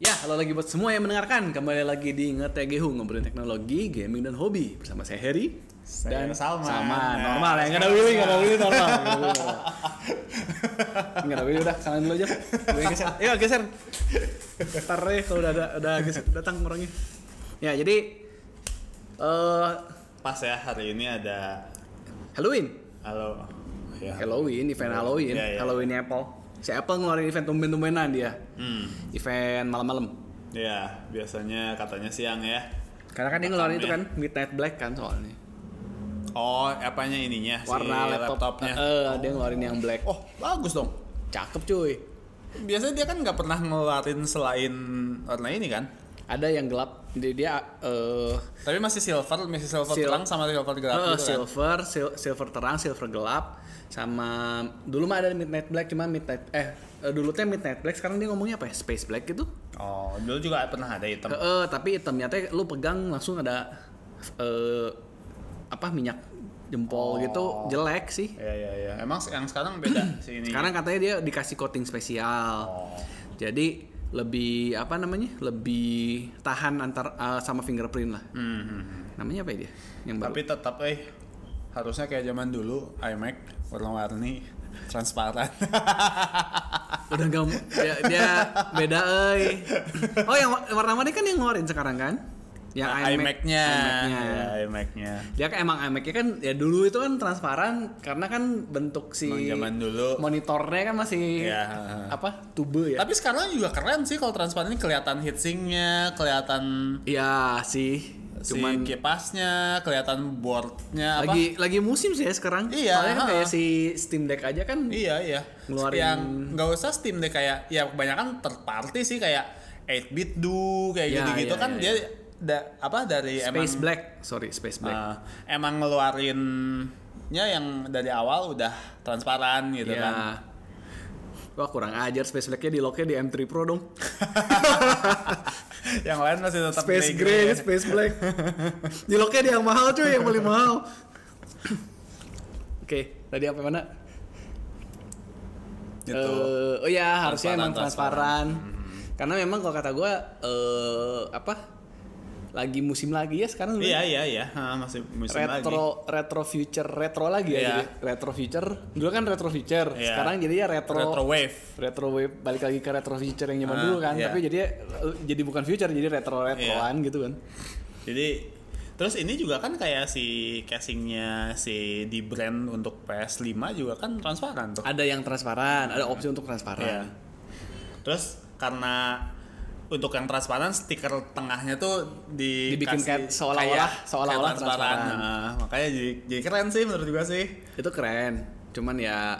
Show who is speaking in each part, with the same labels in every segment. Speaker 1: Ya, halo lagi buat semua yang mendengarkan. Kembali lagi di Ngetegehu ngobrolin teknologi, gaming dan hobi bersama saya Heri
Speaker 2: Saya Salman.
Speaker 1: Sama,
Speaker 2: Ya,
Speaker 1: normal ya. Enggak ada
Speaker 2: sama.
Speaker 1: Willy, enggak ada Willy normal. Enggak ada Willy udah kalian dulu aja. Gue geser. Ayo geser. Ntar deh kalau udah ada udah geser, datang orangnya. Ya, jadi eh
Speaker 2: Pas ya hari ini ada
Speaker 1: Halloween.
Speaker 2: halo. Oh, ya.
Speaker 1: Halloween, event Halloween,
Speaker 2: Iya, iya.
Speaker 1: Halloween Apple. Si Apple ngeluarin event tumben-tumbenan dia.
Speaker 2: Hmm.
Speaker 1: Event malam-malam.
Speaker 2: Ya, biasanya katanya siang ya.
Speaker 1: Karena kan dia ngeluarin itu kan
Speaker 2: Makamnya.
Speaker 1: Midnight Black kan soalnya.
Speaker 2: Oh, apanya ininya
Speaker 1: Warna
Speaker 2: si
Speaker 1: laptop.
Speaker 2: laptopnya.
Speaker 1: Eh, eh, dia ngeluarin yang black.
Speaker 2: Oh, bagus dong.
Speaker 1: Cakep cuy.
Speaker 2: Biasanya dia kan nggak pernah ngeluarin selain warna ini kan.
Speaker 1: Ada yang gelap. Jadi dia eh
Speaker 2: Tapi masih silver, masih silver
Speaker 1: Sil-
Speaker 2: terang sama silver gelap
Speaker 1: eh,
Speaker 2: gitu kan.
Speaker 1: silver, sil- silver terang, silver gelap sama dulu mah ada Midnight Black cuma Midnight eh eh, dulu teh Midnight Black sekarang dia ngomongnya apa ya? Space Black gitu.
Speaker 2: Oh, dulu juga pernah ada
Speaker 1: Eh,
Speaker 2: hitam.
Speaker 1: eh, tapi hitamnya teh lu pegang langsung ada eh apa minyak
Speaker 2: Oh.
Speaker 1: jempol gitu jelek sih.
Speaker 2: Ya ya ya. Emang yang sekarang beda si ini.
Speaker 1: Sekarang katanya dia dikasih coating spesial.
Speaker 2: Iya. Oh.
Speaker 1: Jadi lebih apa namanya? Lebih tahan antar eh, sama fingerprint lah.
Speaker 2: Hmm, hmm, hmm.
Speaker 1: Namanya apa ya dia? Yang baru.
Speaker 2: Tapi tetap eh harusnya kayak zaman dulu iMac warna-warni transparan.
Speaker 1: Udah gak dia, dia beda euy. Oh yang wa- warna warni kan yang ngeluarin sekarang kan? Yang
Speaker 2: Nah, iMac-nya.
Speaker 1: iMac-nya.
Speaker 2: Ya, iMac-nya.
Speaker 1: Dia kan emang iMac-nya kan ya dulu itu kan transparan karena kan bentuk si
Speaker 2: Emang zaman dulu.
Speaker 1: monitornya kan masih
Speaker 2: Ya.
Speaker 1: apa? Tube ya.
Speaker 2: Tapi sekarang juga keren sih kalau transparan ini kelihatan heatsinknya, kelihatan
Speaker 1: Iya sih. Cuman
Speaker 2: si kipasnya, kelihatan boardnya apa?
Speaker 1: lagi lagi musim sih ya sekarang.
Speaker 2: Iya,
Speaker 1: Soalnya kan
Speaker 2: ha-ha.
Speaker 1: kayak si Steam Deck aja kan
Speaker 2: Iya iya.
Speaker 1: Ngeluarin-
Speaker 2: Yang nggak usah Steam deh kayak ya kebanyakan third party sih kayak 8 bit do kayak
Speaker 1: Ya,
Speaker 2: gitu-gitu
Speaker 1: ya,
Speaker 2: kan
Speaker 1: ya,
Speaker 2: dia da- apa dari
Speaker 1: Space
Speaker 2: emang
Speaker 1: Black, sorry Space Black.
Speaker 2: eh, emang ngeluarinnya yang dari awal udah transparan gitu
Speaker 1: Iya.
Speaker 2: kan.
Speaker 1: Wah kurang ajar Space Black-nya di locknya di M3 Pro dong.
Speaker 2: yang lain masih tetap gitu.
Speaker 1: Space
Speaker 2: gray
Speaker 1: Gray,
Speaker 2: gray.
Speaker 1: Space Black. di locknya dia yang mahal cuy, yang paling mahal. Oke, tadi apa mana?
Speaker 2: gitu.
Speaker 1: Eh, oh ya harusnya
Speaker 2: Transparan, Hmm.
Speaker 1: emang transparan. Karena memang kalau kata gua eh apa? Lagi musim lagi ya sekarang.
Speaker 2: iya iya iya Ah, masih musim lagi.
Speaker 1: retro retro future retro lagi ya
Speaker 2: Iya.
Speaker 1: jadi retro future dulu kan retro future
Speaker 2: Iya.
Speaker 1: sekarang jadinya retro retro,
Speaker 2: Retro wave.
Speaker 1: wave balik lagi ke retro future yang zaman
Speaker 2: Ah,
Speaker 1: dulu kan
Speaker 2: iya.
Speaker 1: tapi jadi jadi bukan future jadi retro retroan gitu kan
Speaker 2: Jadi terus ini juga kan kayak si casingnya si di brand untuk PS5 juga kan transparan tuh.
Speaker 1: ada yang transparan ada opsi untuk transparan
Speaker 2: Iya. Terus karena untuk yang transparan stiker tengahnya tuh di
Speaker 1: Dibikin kayak seolah-olah- seolah-olah transparan.
Speaker 2: Nah, makanya jadi, jadi keren sih menurut gua sih.
Speaker 1: itu keren cuman ya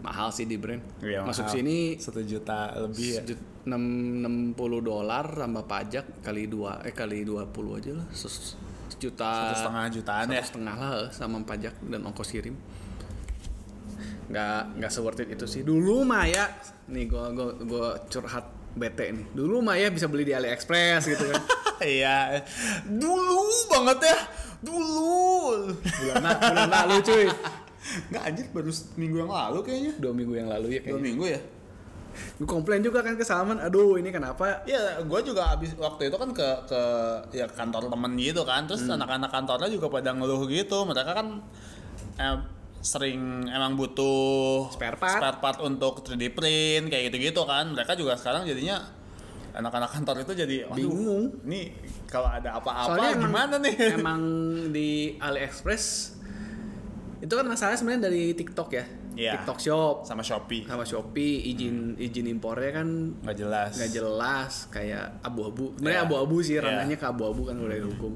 Speaker 1: mahal sih di brand
Speaker 2: Iya,
Speaker 1: masuk
Speaker 2: mahal.
Speaker 1: sini
Speaker 2: satu juta lebih ya.
Speaker 1: enam puluh dolar tambah pajak kali dua eh kali 20 aja lah ses- sejuta
Speaker 2: Satu setengah jutaan ya.
Speaker 1: satu setengah lah eh, sama pajak dan ongkos kirim nggak nggak se worth it itu sih dulu mah ya nih gua gua gua curhat bete nih dulu mah ya bisa beli di AliExpress gitu kan
Speaker 2: Iya. Dulu banget ya. Dulu.
Speaker 1: bulan, la- bulan lalu cuy
Speaker 2: Enggak anjir baru minggu yang lalu kayaknya.
Speaker 1: dua minggu yang lalu ya
Speaker 2: Dua
Speaker 1: kayaknya
Speaker 2: minggu ya.
Speaker 1: gue komplain juga kan ke Salman aduh ini kenapa
Speaker 2: Iya, gue juga abis waktu itu kan ke ke ya kantor temen gitu kan, terus anak-anak kantornya juga pada ngeluh gitu, mereka kan eh, sering emang butuh
Speaker 1: Spare part.
Speaker 2: untuk 3D print kayak gitu-gitu kan, mereka juga sekarang jadinya anak-anak kantor itu jadi "Waduh,
Speaker 1: Bingung.
Speaker 2: Nih kalau ada
Speaker 1: Soalnya
Speaker 2: apa-apa
Speaker 1: emang-
Speaker 2: gimana nih?
Speaker 1: emang di AliExpress itu kan masalahnya sebenarnya dari TikTok ya
Speaker 2: Iya.
Speaker 1: TikTok Shop
Speaker 2: Sama Shopee
Speaker 1: sama Shopee izin izin impornya kan
Speaker 2: nggak jelas.
Speaker 1: nggak jelas kayak abu-abu sebenarnya
Speaker 2: Iya.
Speaker 1: abu-abu sih
Speaker 2: Iya.
Speaker 1: ranahnya ke abu-abu kan udah hukum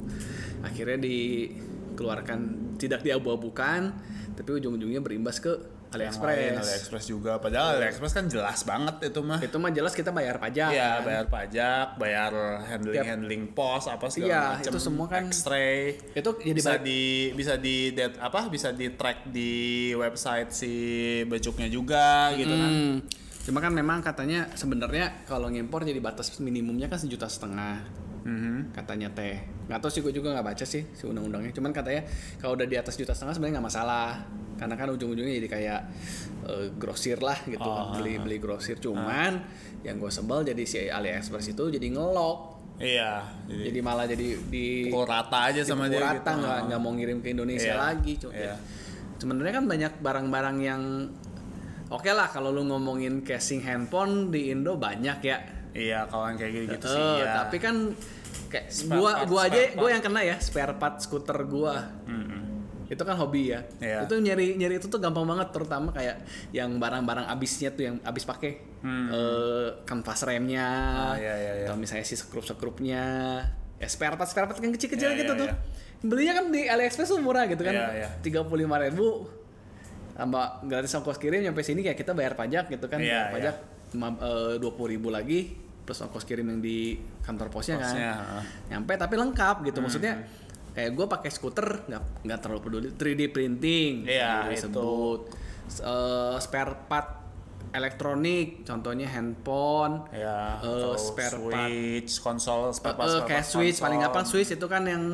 Speaker 1: akhirnya dikeluarkan tidak diabu-abukan tapi ujung-ujungnya berimbas ke
Speaker 2: Yang
Speaker 1: AliExpress
Speaker 2: lain, AliExpress juga, padahal AliExpress kan jelas banget itu mah.
Speaker 1: itu mah jelas kita bayar pajak
Speaker 2: Iya,
Speaker 1: kan.
Speaker 2: bayar pajak, bayar handling handling pos apa segala
Speaker 1: Iya,
Speaker 2: macam.
Speaker 1: itu semua kan Iya,
Speaker 2: X-ray.
Speaker 1: itu jadi
Speaker 2: bisa
Speaker 1: bayar-
Speaker 2: di bisa di det- apa bisa di track di website si becuknya juga gitu kan.
Speaker 1: Hmm. Cuma kan memang katanya sebenarnya kalau ngimpor jadi batas minimumnya kan sejuta setengah.
Speaker 2: Mhm.
Speaker 1: katanya teh nggak tahu sih gue juga nggak baca sih si undang-undangnya cuman katanya kalau udah di atas juta setengah sebenarnya nggak masalah karena kan ujung-ujungnya jadi kayak eh, grosir lah gitu kan.
Speaker 2: Oh, ah.
Speaker 1: beli beli grosir cuman yang gue sebel jadi si AliExpress itu jadi ngelok
Speaker 2: Iya, jadi
Speaker 1: jadi malah jadi di
Speaker 2: pukul rata aja sama dia
Speaker 1: Pukul rata
Speaker 2: gitu.
Speaker 1: nggak nggak mau ngirim ke Indonesia
Speaker 2: Iya.
Speaker 1: lagi cuy
Speaker 2: Iya.
Speaker 1: sebenarnya kan banyak barang-barang yang oke lah kalau lu ngomongin casing handphone di Indo banyak ya
Speaker 2: Iya, kalau yang kayak gitu-gitu sih.
Speaker 1: Eh,
Speaker 2: iya.
Speaker 1: tapi kan kayak
Speaker 2: Spare
Speaker 1: gua
Speaker 2: part,
Speaker 1: gua aja
Speaker 2: spare
Speaker 1: gua yang kena ya spare part skuter gua
Speaker 2: Mm-mm.
Speaker 1: itu kan hobi ya
Speaker 2: Iya.
Speaker 1: itu nyari nyari itu tuh gampang banget terutama kayak yang barang-barang abisnya tuh yang abis pakai Eh, kanvas remnya
Speaker 2: Hmm. Ah, iya, iya, iya.
Speaker 1: atau misalnya si sekrup sekrupnya ya spare part spare part yang kecil-kecil
Speaker 2: Iya,
Speaker 1: gitu
Speaker 2: iya,
Speaker 1: tuh belinya kan di AliExpress tuh murah gitu kan
Speaker 2: Iya, iya.
Speaker 1: tiga puluh lima ribu tambah gratis ongkos kirim nyampe sini kayak kita bayar pajak gitu kan bayar
Speaker 2: Iya,
Speaker 1: pajak eh, dua puluh ribu lagi plus ongkos kirim yang di kantor posnya kan
Speaker 2: Kosnya, heeh.
Speaker 1: nyampe tapi lengkap gitu maksudnya kayak gue pakai skuter nggak nggak terlalu peduli 3D printing
Speaker 2: Iya,
Speaker 1: tadi
Speaker 2: itu.
Speaker 1: disebut S- eh, spare part elektronik contonya handphone Eh,
Speaker 2: Iya, atau
Speaker 1: spare part.
Speaker 2: switch, konsol, spare part,
Speaker 1: Eh,
Speaker 2: spare
Speaker 1: kayak
Speaker 2: part
Speaker 1: switch paling
Speaker 2: konsol.
Speaker 1: gampang switch itu kan yang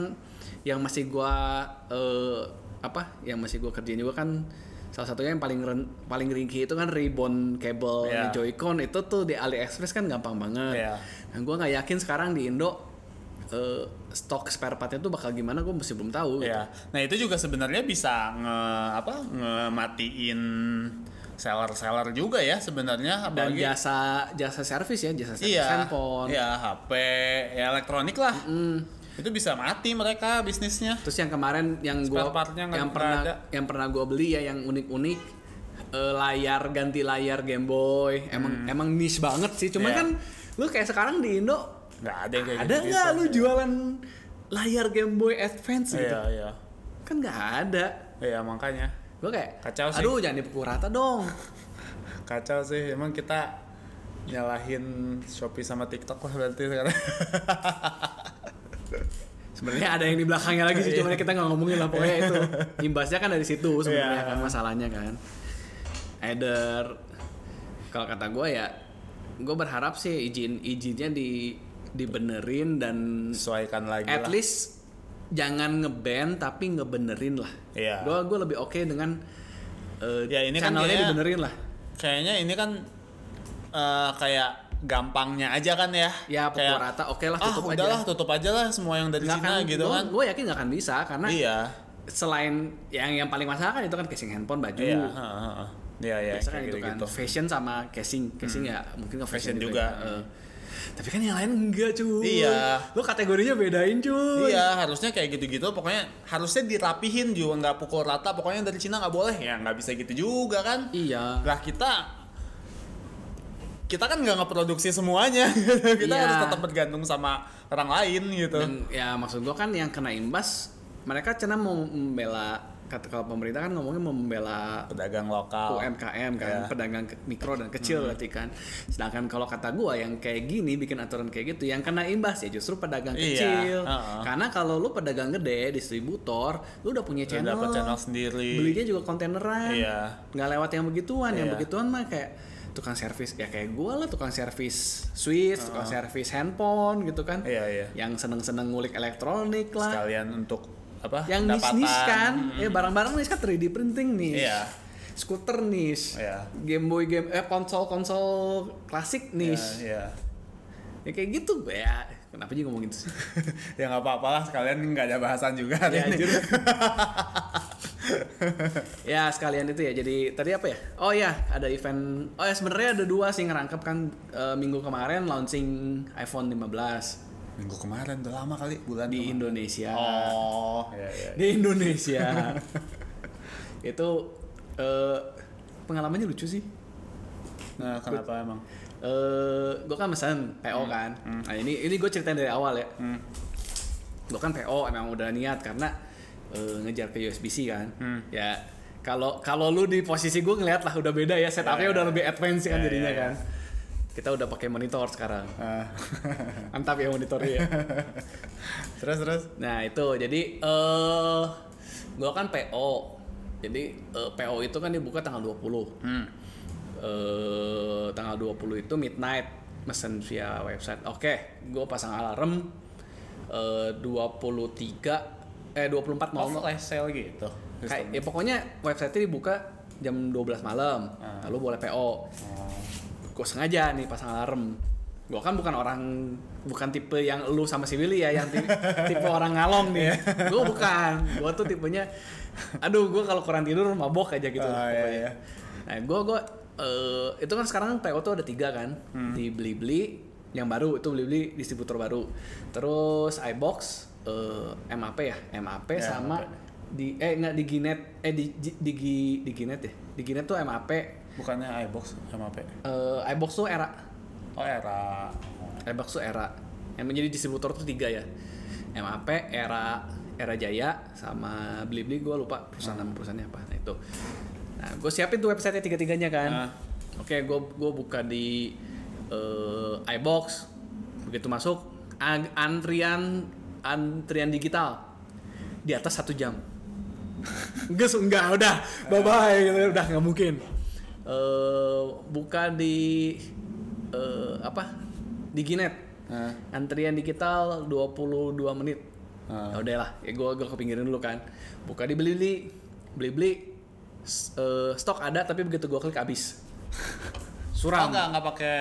Speaker 1: yang masih gua eh, apa yang masih gua kerjain juga kan salah satunya yang paling ren- paling ringkih itu kan ribbon cable
Speaker 2: Iya.
Speaker 1: Joycon itu tuh di AliExpress kan gampang banget.
Speaker 2: Iya.
Speaker 1: Nah, gua nggak yakin sekarang di Indo eh, stok spare partnya tuh bakal gimana gua masih belum tahu. gitu.
Speaker 2: Iya. Nah, itu juga sebenarnya bisa nge apa? ngematiin seller-seller juga ya
Speaker 1: Dan
Speaker 2: sebenarnya apalagi
Speaker 1: jasa jasa servis ya jasa servis
Speaker 2: iya,
Speaker 1: handphone.
Speaker 2: Iya, HP, ya elektronik lah. Itu bisa mati mereka bisnisnya.
Speaker 1: Terus yang kemarin yang
Speaker 2: Spare
Speaker 1: gua
Speaker 2: partnya nggak-
Speaker 1: yang
Speaker 2: nggak
Speaker 1: pernah
Speaker 2: ada.
Speaker 1: yang pernah gua beli ya yang unik-unik eh, layar ganti layar Game Boy. Emang emang niche banget sih. Cuman
Speaker 2: Hmm. Iya.
Speaker 1: kan lu kayak sekarang di Indo
Speaker 2: Nggak ada yang kayak
Speaker 1: ada
Speaker 2: gitu-gitu.
Speaker 1: nggak lu jualan layar Game Boy Advance gitu?
Speaker 2: Iya, iya.
Speaker 1: Kan nggak ada.
Speaker 2: Iya, makanya.
Speaker 1: Gua kayak
Speaker 2: Kacau sih.
Speaker 1: aduh jangan dipukul rata dong.
Speaker 2: Kacau sih, emang kita nyalahin Shopee sama TikTok lah berarti sekarang.
Speaker 1: Sebenarnya ada yang di belakangnya lagi sih, cuman kita nggak ngomongin lah pokoknya itu. Imbasnya kan dari situ sebenarnya
Speaker 2: Iya. Iya.
Speaker 1: kan masalahnya kan. Either kalau kata gue ya, gue berharap sih izin izinnya di dibenerin dan
Speaker 2: Sesuaikan lagi
Speaker 1: at
Speaker 2: lah.
Speaker 1: least jangan ngeband tapi ngebenerin lah.
Speaker 2: Iya.
Speaker 1: Gue gue lebih oke dengan eh,
Speaker 2: Ya, ini kan
Speaker 1: channelnya
Speaker 2: kayaknya-
Speaker 1: dibenerin lah.
Speaker 2: Kayaknya ini kan eh, kayak gampangnya aja kan ya.
Speaker 1: Ya pukul
Speaker 2: kayak,
Speaker 1: rata oke lah
Speaker 2: ah
Speaker 1: tutup aja.
Speaker 2: udahlah tutup aja lah semua yang dari Cina gitu kan.
Speaker 1: Gue yakin nggak akan bisa karena
Speaker 2: Iya.
Speaker 1: selain yang yang paling masalah kan itu kan casing handphone baju.
Speaker 2: Iya, heeh, heeh. Iya, iya,
Speaker 1: biasa kan
Speaker 2: kayak
Speaker 1: itu kan
Speaker 2: gitu-gitu.
Speaker 1: fashion sama casing casing ya mungkin ke fashion,
Speaker 2: Fashion juga. Hmm.
Speaker 1: ya. Eh, tapi kan yang lain enggak cuy
Speaker 2: Iya.
Speaker 1: lo kategorinya bedain cuy
Speaker 2: Iya, harusnya kayak gitu-gitu. Pokoknya harusnya dirapihin juga nggak pukul rata. Pokoknya yang dari Cina nggak boleh ya, nggak bisa gitu juga kan.
Speaker 1: iya
Speaker 2: Lah kita kita kan nggak ngeproduksi semuanya. kita
Speaker 1: Iya.
Speaker 2: harus tetap bergantung sama orang lain gitu.
Speaker 1: Dan, ya maksud gua kan yang kena imbas mereka cina mau membela kata kalau pemerintah kan ngomongnya mau membela
Speaker 2: Pedagang lokal.
Speaker 1: UMKM kan
Speaker 2: Iya. Hmm.
Speaker 1: pedagang ke- mikro dan kecil berarti kan sedangkan kalau kata gua yang kayak gini bikin aturan kayak gitu yang kena imbas ya justru pedagang
Speaker 2: Iya,
Speaker 1: kecil
Speaker 2: heeh.
Speaker 1: karena kalau lu pedagang gede distributor lu udah punya
Speaker 2: Udah
Speaker 1: channel,
Speaker 2: dapat channel sendiri.
Speaker 1: belinya juga kontaineran
Speaker 2: Iya.
Speaker 1: nggak lewat yang begituan yang
Speaker 2: Iya.
Speaker 1: begituan mah kayak tukang servis ya kayak gua lah tukang servis Swiss tukang servis handphone gitu kan
Speaker 2: Iya, iya.
Speaker 1: yang seneng-seneng ngulik elektronik lah
Speaker 2: Sekalian untuk apa?
Speaker 1: yang
Speaker 2: pendapatan.
Speaker 1: niche kan ya barang-barang niche kan 3D printing nih
Speaker 2: Iya.
Speaker 1: skuter niche
Speaker 2: Iya.
Speaker 1: Game Boy game eh konsol konsol klasik
Speaker 2: Iya,
Speaker 1: niche
Speaker 2: iya.
Speaker 1: ya kayak gitu ya kenapa sih ngomong gitu sih
Speaker 2: ya nggak apa-apa lah sekalian nggak ada bahasan juga hari
Speaker 1: Ya,
Speaker 2: ini.
Speaker 1: anjir. ya sekalian itu ya jadi tadi apa ya oh ya ada event oh ya sebenarnya ada dua sih ngerangkep kan eh, minggu kemarin launching iPhone 15
Speaker 2: Minggu kemarin udah lama kali bulan
Speaker 1: di
Speaker 2: kemarin.
Speaker 1: Indonesia
Speaker 2: Oh, iya, iya.
Speaker 1: di Indonesia itu eh, pengalamannya lucu sih
Speaker 2: Nah, kenapa emang?
Speaker 1: eh gue kan mesen PO kan nah ini ini gue ceritain dari awal ya
Speaker 2: Hmm,
Speaker 1: gue kan PO emang udah niat karena eh, ngejar ke USB-C kan
Speaker 2: Hmm.
Speaker 1: ya kalau kalau lu di posisi gue ngeliat lah udah beda ya setupnya
Speaker 2: Ya, ya,
Speaker 1: udah
Speaker 2: ya.
Speaker 1: lebih advance kan
Speaker 2: Ya,
Speaker 1: jadinya
Speaker 2: ya, ya.
Speaker 1: kan kita udah pakai monitor sekarang
Speaker 2: Ah.
Speaker 1: mantap ya monitornya ya.
Speaker 2: terus terus.
Speaker 1: Nah itu jadi eh gua kan PO. Jadi eh, PO itu kan dibuka tanggal 20.
Speaker 2: Hmm.
Speaker 1: Eh tanggal 20 itu midnight mesen via website. Oke, gua pasang alarm eh, 23 eh 24
Speaker 2: Mau
Speaker 1: mau
Speaker 2: flash sale gitu.
Speaker 1: kayak ya pokoknya website dibuka jam 12 malam lalu boleh PO
Speaker 2: Oh.
Speaker 1: gue sengaja nih pasang alarm gue kan bukan orang bukan tipe yang lu sama si Willy ya yang ti- tipe orang ngalong nih
Speaker 2: Iya.
Speaker 1: gue bukan gue tuh tipenya aduh gue kalau kurang tidur mabok aja gitu
Speaker 2: Ah, iya,
Speaker 1: pokoknya.
Speaker 2: iya.
Speaker 1: nah gue gue itu kan sekarang PO tuh ada tiga kan
Speaker 2: Hmm.
Speaker 1: di Blibli yang baru itu Blibli distributor baru terus iBox eh, MAP ya MAP
Speaker 2: Ya,
Speaker 1: sama
Speaker 2: MAP.
Speaker 1: di eh nggak di Ginet eh di di, di, Gi- di Ginet ya di Ginet tuh MAP
Speaker 2: Bukannya iBox sama apa?
Speaker 1: eh, iBox tuh era
Speaker 2: Oh era.
Speaker 1: Ebak tuh era yang menjadi distributor tuh tiga ya MAP era era Jaya sama Blibli gue lupa perusahaan nama perusahaannya apa nah itu nah gue siapin tuh websitenya tiga tiganya kan
Speaker 2: Ah.
Speaker 1: oke gue gue buka di eh, iBox begitu masuk an- antrian antrian digital di atas satu jam Gus, enggak, udah, bye bye, udah nggak mungkin. eh buka di eh, apa? Di Ginet.
Speaker 2: Nah.
Speaker 1: Antrian digital 22 menit.
Speaker 2: Ah.
Speaker 1: Ya udahlah, ya gua gua kepinggirin dulu kan. Buka di Blibli. Blibli s- eh, stok ada tapi begitu gua klik habis.
Speaker 2: Oh
Speaker 1: Suram.
Speaker 2: enggak enggak pakai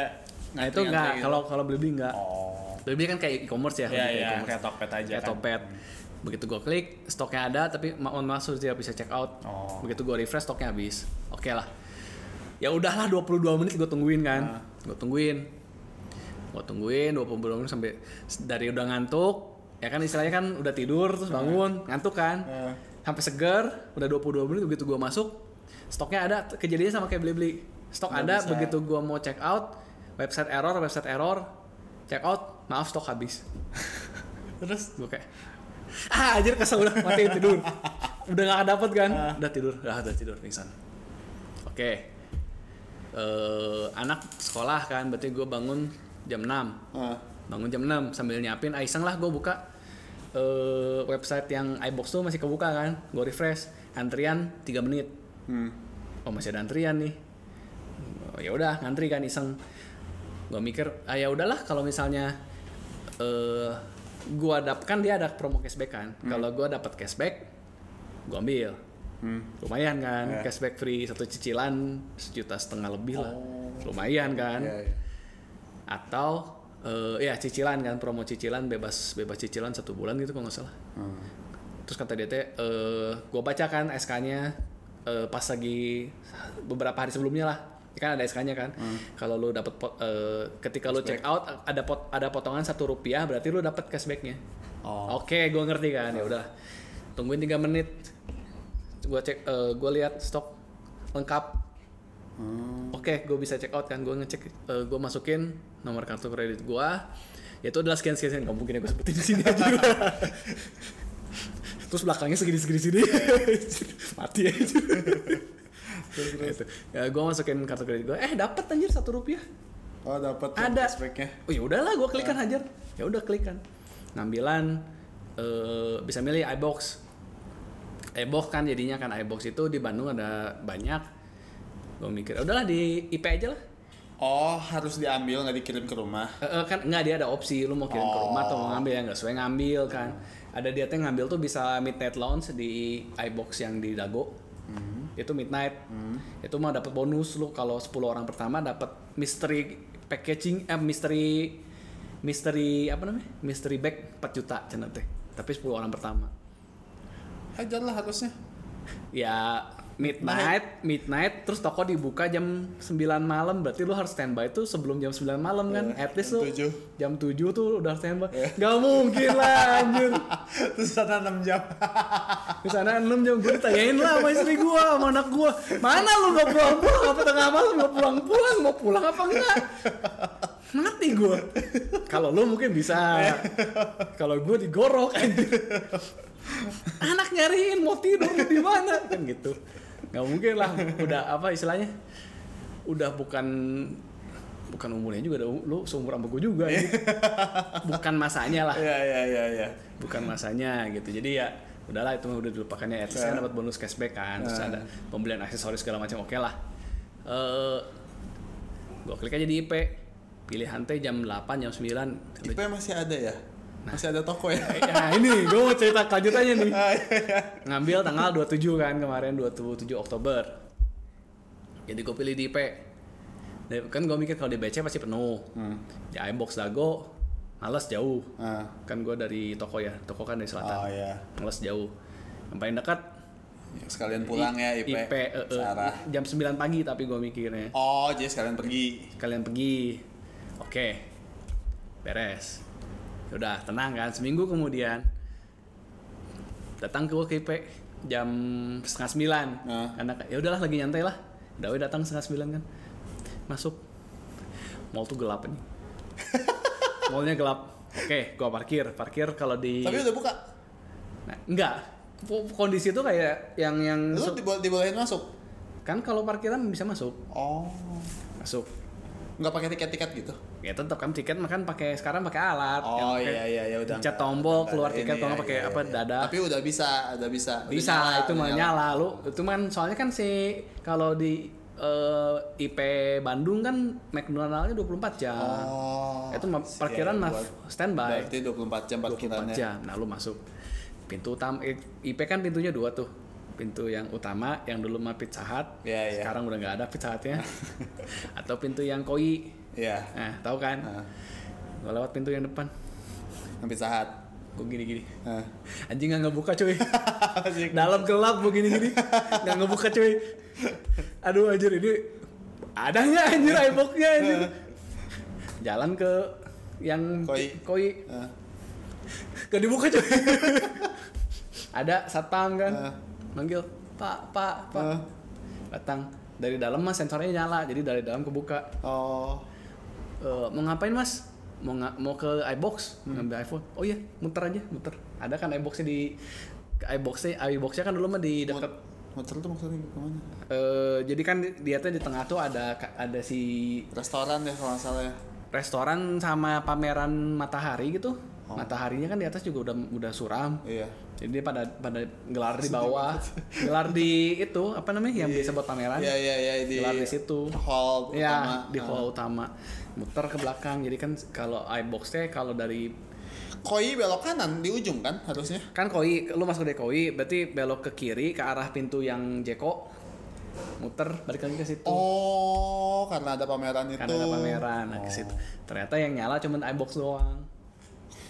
Speaker 1: nah, itu enggak kalau kalau Blibli enggak.
Speaker 2: Oh.
Speaker 1: Blibli kan kayak e-commerce ya,
Speaker 2: Iya
Speaker 1: lebih kayak
Speaker 2: iya
Speaker 1: e-commerce.
Speaker 2: kayak Tokped aja
Speaker 1: kayak
Speaker 2: kan.
Speaker 1: Topet. Begitu gue klik, stoknya ada tapi ma- mohon maaf sudah tidak bisa check out.
Speaker 2: Oh.
Speaker 1: Begitu gue refresh stoknya habis. Oke lah. Ya udahlah 22 menit gue tungguin
Speaker 2: Nah.
Speaker 1: kan. Gue tungguin. Gue tungguin 22 menit sampai s- dari udah ngantuk, ya kan istilahnya kan udah tidur terus bangun, ngantuk kan.
Speaker 2: Nah.
Speaker 1: Sampai seger, udah 22 menit begitu gue masuk, stoknya ada. T- Kejadiannya sama kayak beli-beli. Stok
Speaker 2: Nggak
Speaker 1: ada
Speaker 2: bisa.
Speaker 1: begitu gue mau check out, website error, website error. Check out, maaf stok habis
Speaker 2: Terus
Speaker 1: gue kayak ah anjir kesel udah matiin tidur udah gak dapet kan udah tidur udah udah tidur pingsan oke Eh, anak sekolah kan berarti gue bangun jam 6
Speaker 2: ah,
Speaker 1: bangun jam 6 sambil nyiapin ah, iseng lah gue buka eh, website yang iBox tuh masih kebuka kan gue refresh antrian 3 menit
Speaker 2: hmm.
Speaker 1: oh masih ada antrian nih Oh, ya udah ngantri kan iseng gua mikir ah ya udahlah kalau misalnya eh gua dap kan dia ada promo cashback kan kalau gua dapat cashback gua ambil
Speaker 2: Hmm.
Speaker 1: lumayan kan
Speaker 2: Ya.
Speaker 1: cashback free satu cicilan sejuta setengah lebih lah
Speaker 2: Oh.
Speaker 1: lumayan kan
Speaker 2: Iya, iya.
Speaker 1: atau eh, ya cicilan kan promo cicilan bebas bebas cicilan satu bulan gitu kalau nggak salah
Speaker 2: Hmm.
Speaker 1: terus kata dia teh eh gue baca kan SK-nya eh, pas lagi beberapa hari sebelumnya lah Ya kan ada SK-nya kan kalau lu dapat pot- eh, ketika lu check out ada pot, ada potongan satu rupiah berarti lu dapat cashbacknya
Speaker 2: Oh.
Speaker 1: oke gue ngerti kan ya udah tungguin tiga menit gue cek gue lihat stok lengkap
Speaker 2: Hmm.
Speaker 1: Oke, gue bisa check out kan, gue ngecek, gue masukin nomor kartu kredit gue, itu adalah sekian sekian, sekian. nggak mungkin ya gue sebutin di sini aja. Terus belakangnya segini segini sini, mati aja. gue masukin kartu kredit gue, eh dapat anjir satu rupiah.
Speaker 2: Oh dapat
Speaker 1: Ada.
Speaker 2: speknya.
Speaker 1: Oh ya udahlah, gue klik kan hajar. Ya udah klik kan. Ngambilan eh, bisa milih iBox. iBox kan jadinya kan iBox itu di Bandung ada banyak. Gue mikir, "Ya udahlah di IP aja lah.
Speaker 2: Oh harus diambil nggak dikirim ke rumah.
Speaker 1: Eh, eh, kan nggak dia ada opsi lu mau kirim ke rumah atau mau ngambil ya nggak sesuai ngambil kan ada dia teh ngambil tuh bisa midnight lounge di iBox yang di Dago itu midnight itu mah dapat bonus lu kalau 10 orang pertama dapat mystery packaging eh mystery mystery apa namanya mystery bag 4 juta cenah teh tapi 10 orang pertama
Speaker 2: Hajar lah harusnya.
Speaker 1: ya midnight midnight terus toko dibuka jam 9 malam berarti lu harus standby itu sebelum jam 9 malam kan
Speaker 2: Eh,
Speaker 1: at least
Speaker 2: jam
Speaker 1: lu
Speaker 2: tujuh. Iya.
Speaker 1: jam 7 tuh udah standby nggak mungkin lah anjir
Speaker 2: Terus sana 6 jam.
Speaker 1: di sana 6 jam gue ditanyain lah sama istri gua sama anak gua mana lu nggak pulang pulang apa tengah malam nggak pulang pulang mau pulang apa enggak mati gua kalau lu mungkin bisa kalau gua digorok anjir anak nyariin mau tidur lu di mana kan gitu nggak mungkin lah udah apa istilahnya udah bukan bukan umurnya juga udah- lu seumur sama gua juga anjir. bukan masanya lah
Speaker 2: Iya iya iya iya.
Speaker 1: bukan masanya gitu jadi ya udahlah itu mah udah dilupakannya at least kan dapat bonus cashback kan terus ada pembelian aksesoris segala macam oke lah eh gua klik aja di IP pilihan teh jam 8 jam 9
Speaker 2: IP masih ada ya? Masih ada toko ya.
Speaker 1: Nah ini gue mau cerita kelanjutannya nih Ngambil tanggal 27 kan kemarin 27 Oktober Jadi gue pilih di IP Di- Kan gue mikir kalau di BC pasti penuh Di iBox Dago Males jauh
Speaker 2: Ah.
Speaker 1: Kan gue dari toko ya Toko kan dari
Speaker 2: Oh
Speaker 1: selatan
Speaker 2: iya.
Speaker 1: Males jauh Yang paling dekat
Speaker 2: Sekalian pulang ya IP.
Speaker 1: IP eh, eh,
Speaker 2: Sarah.
Speaker 1: Jam 9 pagi tapi gue mikirnya
Speaker 2: Oh, jadi sekalian pergi.
Speaker 1: kalian pergi oke beres udah tenang kan seminggu kemudian datang ke WKP jam setengah sembilan
Speaker 2: Ah.
Speaker 1: anak ya udahlah lagi nyantai lah Dawe datang setengah sembilan kan masuk mall tuh gelap nih mallnya gelap oke gua parkir parkir kalau di
Speaker 2: Tapi udah buka.
Speaker 1: Nah, enggak P- kondisi tuh kayak yang yang
Speaker 2: Lu dibo- dibolehin masuk.
Speaker 1: kan kalau parkiran bisa masuk
Speaker 2: Oh.
Speaker 1: masuk
Speaker 2: Nggak pakai tiket-tiket gitu.
Speaker 1: ya tetap kan tiket makan pakai sekarang pakai alat
Speaker 2: Oh
Speaker 1: Yang pakai-
Speaker 2: iya iya ya udah.
Speaker 1: pencet
Speaker 2: nggak-
Speaker 1: tombol,
Speaker 2: nggak
Speaker 1: keluar
Speaker 2: ada
Speaker 1: tiket,
Speaker 2: ini
Speaker 1: kalau
Speaker 2: ya,
Speaker 1: nggak pakai
Speaker 2: iya,
Speaker 1: apa,
Speaker 2: iya.
Speaker 1: dada.
Speaker 2: Tapi udah bisa, udah bisa. Udah
Speaker 1: bisa lah, itu
Speaker 2: udah
Speaker 1: mah nyala lu itu kan soalnya kan si kalau di eh, IP Bandung kan McDonald-nya 24 jam
Speaker 2: Oh.
Speaker 1: itu mah parkiran
Speaker 2: Iya,
Speaker 1: mah
Speaker 2: buat-
Speaker 1: standby
Speaker 2: Berarti 24 jam
Speaker 1: 24
Speaker 2: parkirannya.
Speaker 1: jam nah lu masuk pintu utama eh, IP kan pintunya dua tuh pintu yang utama yang dulu mah Pizza Hut
Speaker 2: Iya, iya.
Speaker 1: sekarang udah nggak ada Pizza Hut-nya atau pintu yang koi
Speaker 2: Iya.
Speaker 1: nah tahu kan
Speaker 2: Nah,
Speaker 1: gua lewat pintu yang depan
Speaker 2: hampir saat.
Speaker 1: gue gini-gini
Speaker 2: Nah.
Speaker 1: anjing nggak ngebuka cuy dalam gelap begini gini nggak ngebuka cuy aduh anjir ini ada nggak anjir iBooknya anjir jalan ke yang
Speaker 2: Nah. Koi.
Speaker 1: koi
Speaker 2: Nah.
Speaker 1: gak dibuka cuy ada satpam kan
Speaker 2: Ah.
Speaker 1: manggil pak pak pak
Speaker 2: Ah.
Speaker 1: datang dari dalam mas sensornya nyala jadi dari dalam kebuka
Speaker 2: Oh.
Speaker 1: Eh, mau ngapain mas mau nga- mau ke iBox mau ngambil iPhone oh iya muter aja muter ada kan iBoxnya di iBoxnya iBoxnya kan dulu mah di dekat
Speaker 2: Motor tuh maksudnya gimana?
Speaker 1: Eh, jadi kan dia tuh di tengah tuh ada ada si
Speaker 2: Restoran ya kalau nggak salah ya.
Speaker 1: restoran sama pameran matahari gitu. Mataharinya kan di atas juga udah udah suram.
Speaker 2: Iya.
Speaker 1: Jadi dia pada pada gelar di bawah, gelar di itu apa namanya yang biasa buat pameran.
Speaker 2: Iya iya iya di
Speaker 1: Gelar di situ.
Speaker 2: hall utama.
Speaker 1: Iya,
Speaker 2: Ah.
Speaker 1: di hall utama. Muter ke belakang. Jadi kan kalau iBox-nya kalau dari
Speaker 2: Koi belok kanan di ujung kan harusnya.
Speaker 1: kan koi, lu masuk dari koi, berarti belok ke kiri ke arah pintu yang Jeko. Muter balik lagi ke situ.
Speaker 2: Oh, karena ada pameran itu.
Speaker 1: karena ada pameran nah,
Speaker 2: Oh.
Speaker 1: ke situ. ternyata yang nyala cuman iBox doang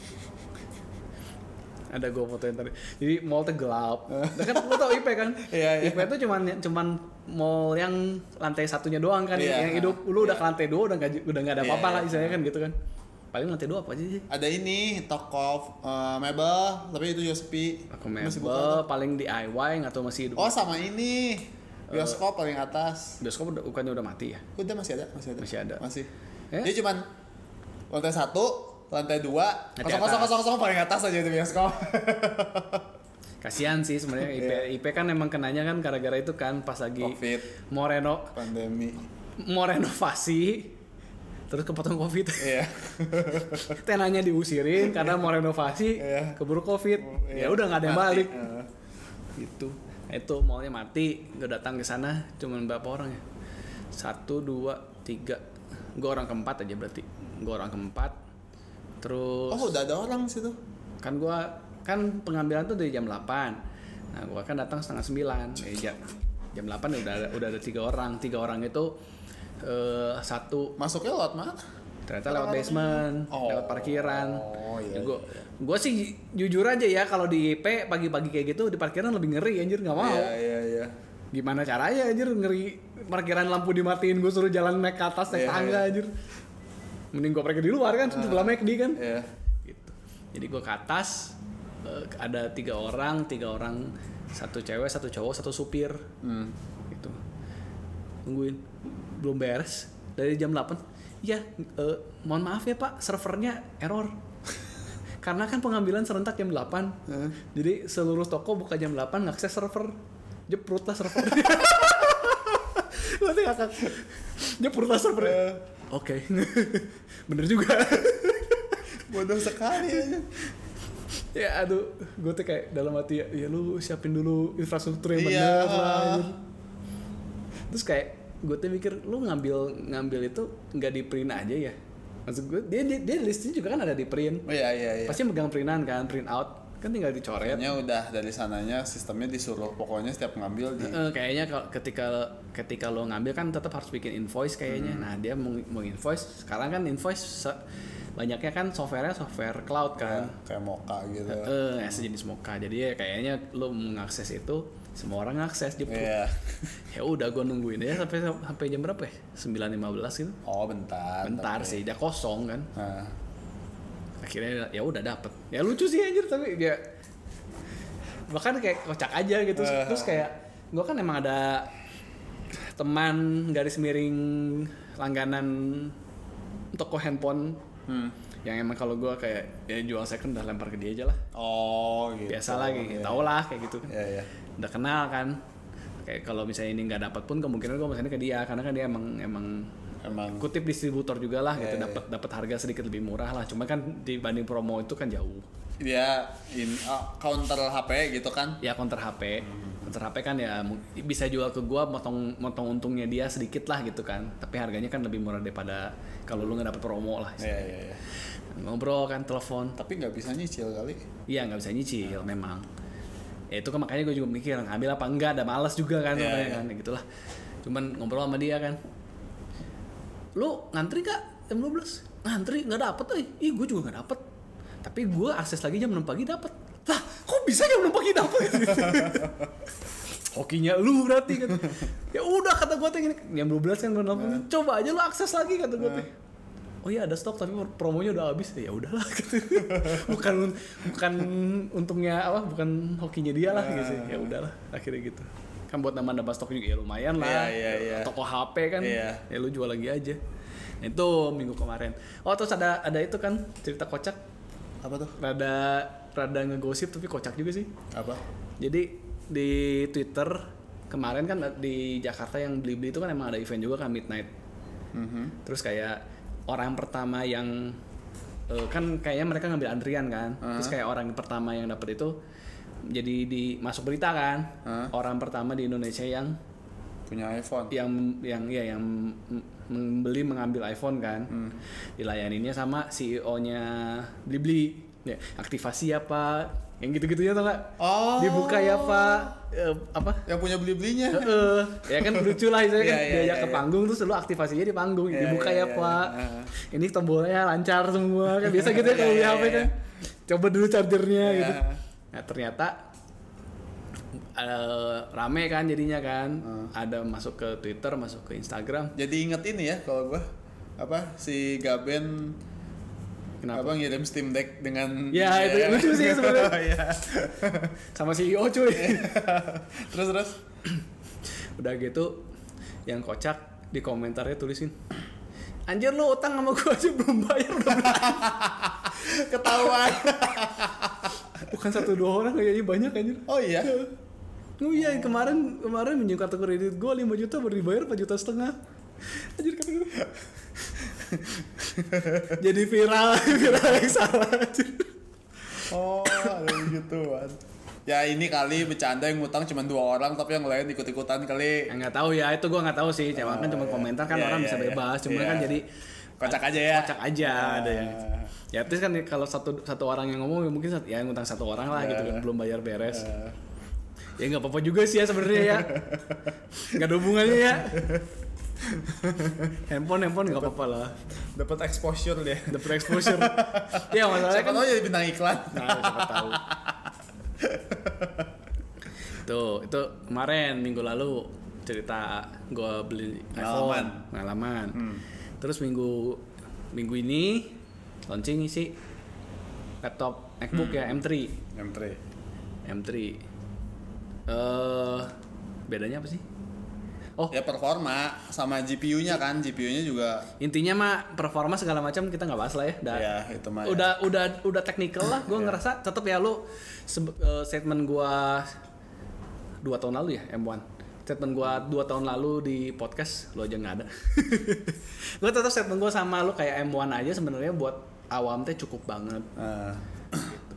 Speaker 1: ada gue fotoin tadi jadi mall tuh gelap Nah, kan lo tau IP kan
Speaker 2: Iya, iya.
Speaker 1: IP itu cuman cuman mall yang lantai satunya doang kan
Speaker 2: Iya.
Speaker 1: yang hidup lu udah ke lantai dua udah nggak udah nggak ada
Speaker 2: Iya,
Speaker 1: apa-apa lah
Speaker 2: iya.
Speaker 1: istilahnya kan gitu kan paling lantai dua apa aja sih
Speaker 2: Ada ini toko eh, mebel, tapi itu juga sepi.
Speaker 1: aku
Speaker 2: Masih buka.
Speaker 1: mebel paling DIY nggak tau masih hidup
Speaker 2: Oh, sama ini. Bioskop paling atas.
Speaker 1: bioskop udah, bukannya udah mati ya
Speaker 2: Udah masih ada, masih ada.
Speaker 1: Masih ada.
Speaker 2: Masih.
Speaker 1: Ya.
Speaker 2: Dia cuman lantai satu, lantai dua,
Speaker 1: Nanti
Speaker 2: kosong kosong kosong kosong paling atas aja itu bioskop.
Speaker 1: kasihan sih sebenarnya IP IP kan emang kenanya kan gara-gara itu kan pas lagi
Speaker 2: Iya. Covid,
Speaker 1: mau reno
Speaker 2: pandemi.
Speaker 1: mau renovasi terus kepotong covid
Speaker 2: Iya.
Speaker 1: tenanya diusirin karena mau renovasi
Speaker 2: Iya.
Speaker 1: keburu covid ya udah nggak ada yang
Speaker 2: Mati.
Speaker 1: balik
Speaker 2: Eh.
Speaker 1: gitu Nah, itu maunya mati nggak datang ke sana cuman berapa orang ya satu dua tiga gue orang keempat aja berarti gue orang keempat terus
Speaker 2: Oh, udah ada orang situ.
Speaker 1: kan gue kan pengambilan tuh dari jam 8 nah gue kan datang setengah 9 eh, jam jam 8 udah ada, udah ada tiga orang tiga orang itu eh, satu
Speaker 2: Masuknya lewat mana?
Speaker 1: ternyata lewat basement,
Speaker 2: Oh.
Speaker 1: lewat parkiran.
Speaker 2: Oh, iya,
Speaker 1: Gue gue sih ju- jujur aja ya kalau di IP pagi-pagi kayak gitu di parkiran lebih ngeri anjir nggak mau.
Speaker 2: Iya, iya, iya.
Speaker 1: Gimana caranya anjir ngeri parkiran lampu dimatiin gue suruh jalan naik ke atas naik
Speaker 2: Iya,
Speaker 1: tangga anjir. Mending gue parkir di luar kan sebelah McD kan.
Speaker 2: Iya.
Speaker 1: Gitu. Jadi gue ke atas eh, ada tiga orang, tiga orang satu cewek, satu cowok, satu supir
Speaker 2: Hmm.
Speaker 1: gitu tungguin belum beres dari jam 8 ya eh, mohon maaf ya pak servernya error karena kan pengambilan serentak jam 8 jadi seluruh toko buka jam 8 ngakses server jeprut lah server nanti ngakak jeprut lah server oke bener juga
Speaker 2: Bodoh sekali. anjing.
Speaker 1: ya aduh gue tuh kayak dalam hati ya, ya lu siapin dulu infrastruktur yang
Speaker 2: Iya.
Speaker 1: bener lah gitu. anjir." terus kayak gue tuh mikir lu ngambil ngambil itu nggak di print aja ya maksud gue dia dia, dia listnya juga kan ada di print
Speaker 2: Oh iya iya iya.
Speaker 1: pasti megang printan kan print out kan tinggal dicoret
Speaker 2: Kayaknya udah dari sananya sistemnya disuruh pokoknya setiap ngambil di
Speaker 1: Eh, kayaknya kalau ketika ketika lo ngambil kan tetap harus bikin invoice kayaknya. Nah dia mau, mau invoice sekarang kan invoice se- banyaknya kan softwarenya software cloud kan.
Speaker 2: kayak moka gitu.
Speaker 1: Eh ya sejenis Mocha. Jadi ya kayaknya lo mengakses itu semua orang ngakses di
Speaker 2: Iya.
Speaker 1: Ya udah gue nungguin ya sampai sampai jam berapa ya? 9.15 gitu.
Speaker 2: Oh bentar.
Speaker 1: Bentar sih, udah kosong kan.
Speaker 2: Nah.
Speaker 1: Akhirnya ya udah dapet. Ya lucu sih anjir tapi dia bahkan kayak kocak aja gitu
Speaker 2: Eh.
Speaker 1: terus kayak gue kan emang ada teman garis miring langganan toko handphone
Speaker 2: Hmm.
Speaker 1: yang emang kalau gue kayak ya jual second udah lempar ke dia aja lah
Speaker 2: Oh gitu.
Speaker 1: biasa lagi
Speaker 2: Iya.
Speaker 1: tau lah kayak gitu kan
Speaker 2: Iya iya.
Speaker 1: udah kenal kan kayak kalau misalnya ini nggak dapat pun kemungkinan gue misalnya ke dia karena kan dia emang emang
Speaker 2: Emang
Speaker 1: kutip distributor juga lah gitu
Speaker 2: Iya, iya.
Speaker 1: dapat dapat harga sedikit lebih murah lah cuma kan dibanding promo itu kan jauh
Speaker 2: dia in ah, counter HP gitu kan.
Speaker 1: ya counter HP
Speaker 2: Hmm.
Speaker 1: counter HP kan ya mu- bisa jual ke gua motong motong untungnya dia sedikit lah gitu kan tapi harganya kan lebih murah daripada kalau lu nggak dapet promo lah
Speaker 2: Iya iya iya.
Speaker 1: ngobrol kan telepon
Speaker 2: Tapi nggak bisa nyicil kali.
Speaker 1: iya nggak bisa nyicil memang ya itu kan makanya gue juga mikir ngambil apa enggak ada malas juga kan
Speaker 2: Iya,
Speaker 1: makanya
Speaker 2: iya.
Speaker 1: kan ya gitulah cuman ngobrol sama dia kan lu ngantri gak jam 12 ngantri nggak dapet eh ih gue juga nggak dapet tapi gue akses lagi jam 6 pagi dapet lah kok bisa jam 6 pagi dapet hokinya lu berarti kan ya udah kata gue teh gini, jam 12 kan
Speaker 2: Nah.
Speaker 1: benar coba aja lu akses lagi kata gue teh oh iya ada stok tapi promonya udah habis ya udahlah gitu bukan bukan untungnya apa bukan hokinya dia lah gitu ya
Speaker 2: Nah.
Speaker 1: udahlah akhirnya gitu kan buat nama nambah stok juga ya lumayan lah
Speaker 2: Iya, iya, iya.
Speaker 1: toko HP kan
Speaker 2: Iya.
Speaker 1: ya lu jual lagi aja Nah, itu minggu kemarin oh terus ada ada itu kan cerita kocak
Speaker 2: Apa tuh?
Speaker 1: rada rada ngegosip tapi kocak juga sih
Speaker 2: Apa?
Speaker 1: jadi di Twitter kemarin kan di Jakarta yang beli-beli itu kan emang ada event juga kan midnight.
Speaker 2: Mhm.
Speaker 1: Terus kayak orang pertama yang eh, kan kayaknya mereka ngambil antrian kan. Terus kayak orang pertama yang dapet itu jadi di masuk berita kan.
Speaker 2: Hah?
Speaker 1: Orang pertama di Indonesia yang
Speaker 2: Punya iPhone. Iya.
Speaker 1: yang yang ya yang m- membeli mengambil iPhone kan
Speaker 2: Hmm.
Speaker 1: dilayaninnya sama CEO-nya Blibli ya aktivasi ya pak yang gitu-gitunya tau gak
Speaker 2: Oh.
Speaker 1: dibuka ya pak Eh, apa
Speaker 2: Yang punya beli belinya.
Speaker 1: Heeh. ya kan lucu lah misalnya kan
Speaker 2: Iya, iya,
Speaker 1: diajak
Speaker 2: iya,
Speaker 1: ke
Speaker 2: iya.
Speaker 1: panggung terus lu aktivasinya di panggung
Speaker 2: Iya,
Speaker 1: dibuka
Speaker 2: iya,
Speaker 1: ya
Speaker 2: iya,
Speaker 1: pak
Speaker 2: iya.
Speaker 1: ini tombolnya lancar semua kan biasa gitu ya kalau
Speaker 2: Iya,
Speaker 1: di
Speaker 2: iya,
Speaker 1: HP
Speaker 2: iya.
Speaker 1: kan coba dulu chargernya
Speaker 2: Iya.
Speaker 1: gitu nah ternyata eh, rame kan jadinya kan ada masuk ke Twitter masuk ke Instagram
Speaker 2: Jadi inget ini ya kalau gua apa si Gaben
Speaker 1: Kenapa?
Speaker 2: apa ngirim Steam Deck dengan
Speaker 1: Ya, itu
Speaker 2: kan?
Speaker 1: lucu sih sebenarnya.
Speaker 2: Iya.
Speaker 1: sama CEO cuy
Speaker 2: terus terus
Speaker 1: udah gitu yang kocak di komentarnya tulisin anjir lu utang sama gua aja belum bayar udah
Speaker 2: ketahuan.
Speaker 1: bukan satu dua orang kayaknya banyak anjir
Speaker 2: Oh iya.
Speaker 1: Oh iya kemarin kemarin minjem kartu kredit gue 5 juta baru dibayar 4 juta setengah. Anjir kata gue. Jadi viral, viral yang salah anjir.
Speaker 2: Oh, ada begituan. Ya ini kali bercanda yang ngutang cuma dua orang tapi yang lain ikut-ikutan kali.
Speaker 1: Enggak tahu ya, itu gue nggak tahu sih. Cuma kan cuma
Speaker 2: iya.
Speaker 1: komentar kan
Speaker 2: Iya,
Speaker 1: orang
Speaker 2: iya,
Speaker 1: bisa
Speaker 2: iya.
Speaker 1: bebas. Cuma kan
Speaker 2: Iya.
Speaker 1: jadi
Speaker 2: Kocak aja ya.
Speaker 1: kocak aja ada yang
Speaker 2: Iya.
Speaker 1: Ya terus kan kalau satu satu orang yang ngomong ya mungkin satu, ya ngutang satu orang lah gitu kan belum bayar beres.
Speaker 2: Eh,
Speaker 1: Ya nggak apa-apa juga sih ya sebenarnya ya. Nggak ada hubungannya ya. handphone handphone nggak apa-apa lah.
Speaker 2: Dapat exposure deh.
Speaker 1: dapat exposure ya masalahnya
Speaker 2: Siapa
Speaker 1: kan
Speaker 2: tahu jadi bintang iklan.
Speaker 1: nah, siapa tahu tuh itu kemarin minggu lalu cerita gue beli
Speaker 2: Pengalaman.
Speaker 1: iPhone pengalaman
Speaker 2: Hmm.
Speaker 1: terus minggu minggu ini launching sih laptop
Speaker 2: Hmm.
Speaker 1: MacBook ya M3
Speaker 2: M3.
Speaker 1: M3 eh bedanya apa sih oh
Speaker 2: Ya performa sama GPU-nya kan, GPU-nya juga
Speaker 1: intinya mah performa segala macam kita nggak bahas lah ya udah
Speaker 2: ya itu mah. ya.
Speaker 1: udah udah udah teknikal lah gue ngerasa tetap ya lu sebe- eh, statement gue dua tahun lalu ya M1 statement gue dua tahun lalu di podcast lo aja nggak ada gue tetap statement gue sama lu kayak M1 aja sebenarnya buat awam teh cukup banget
Speaker 2: Eh,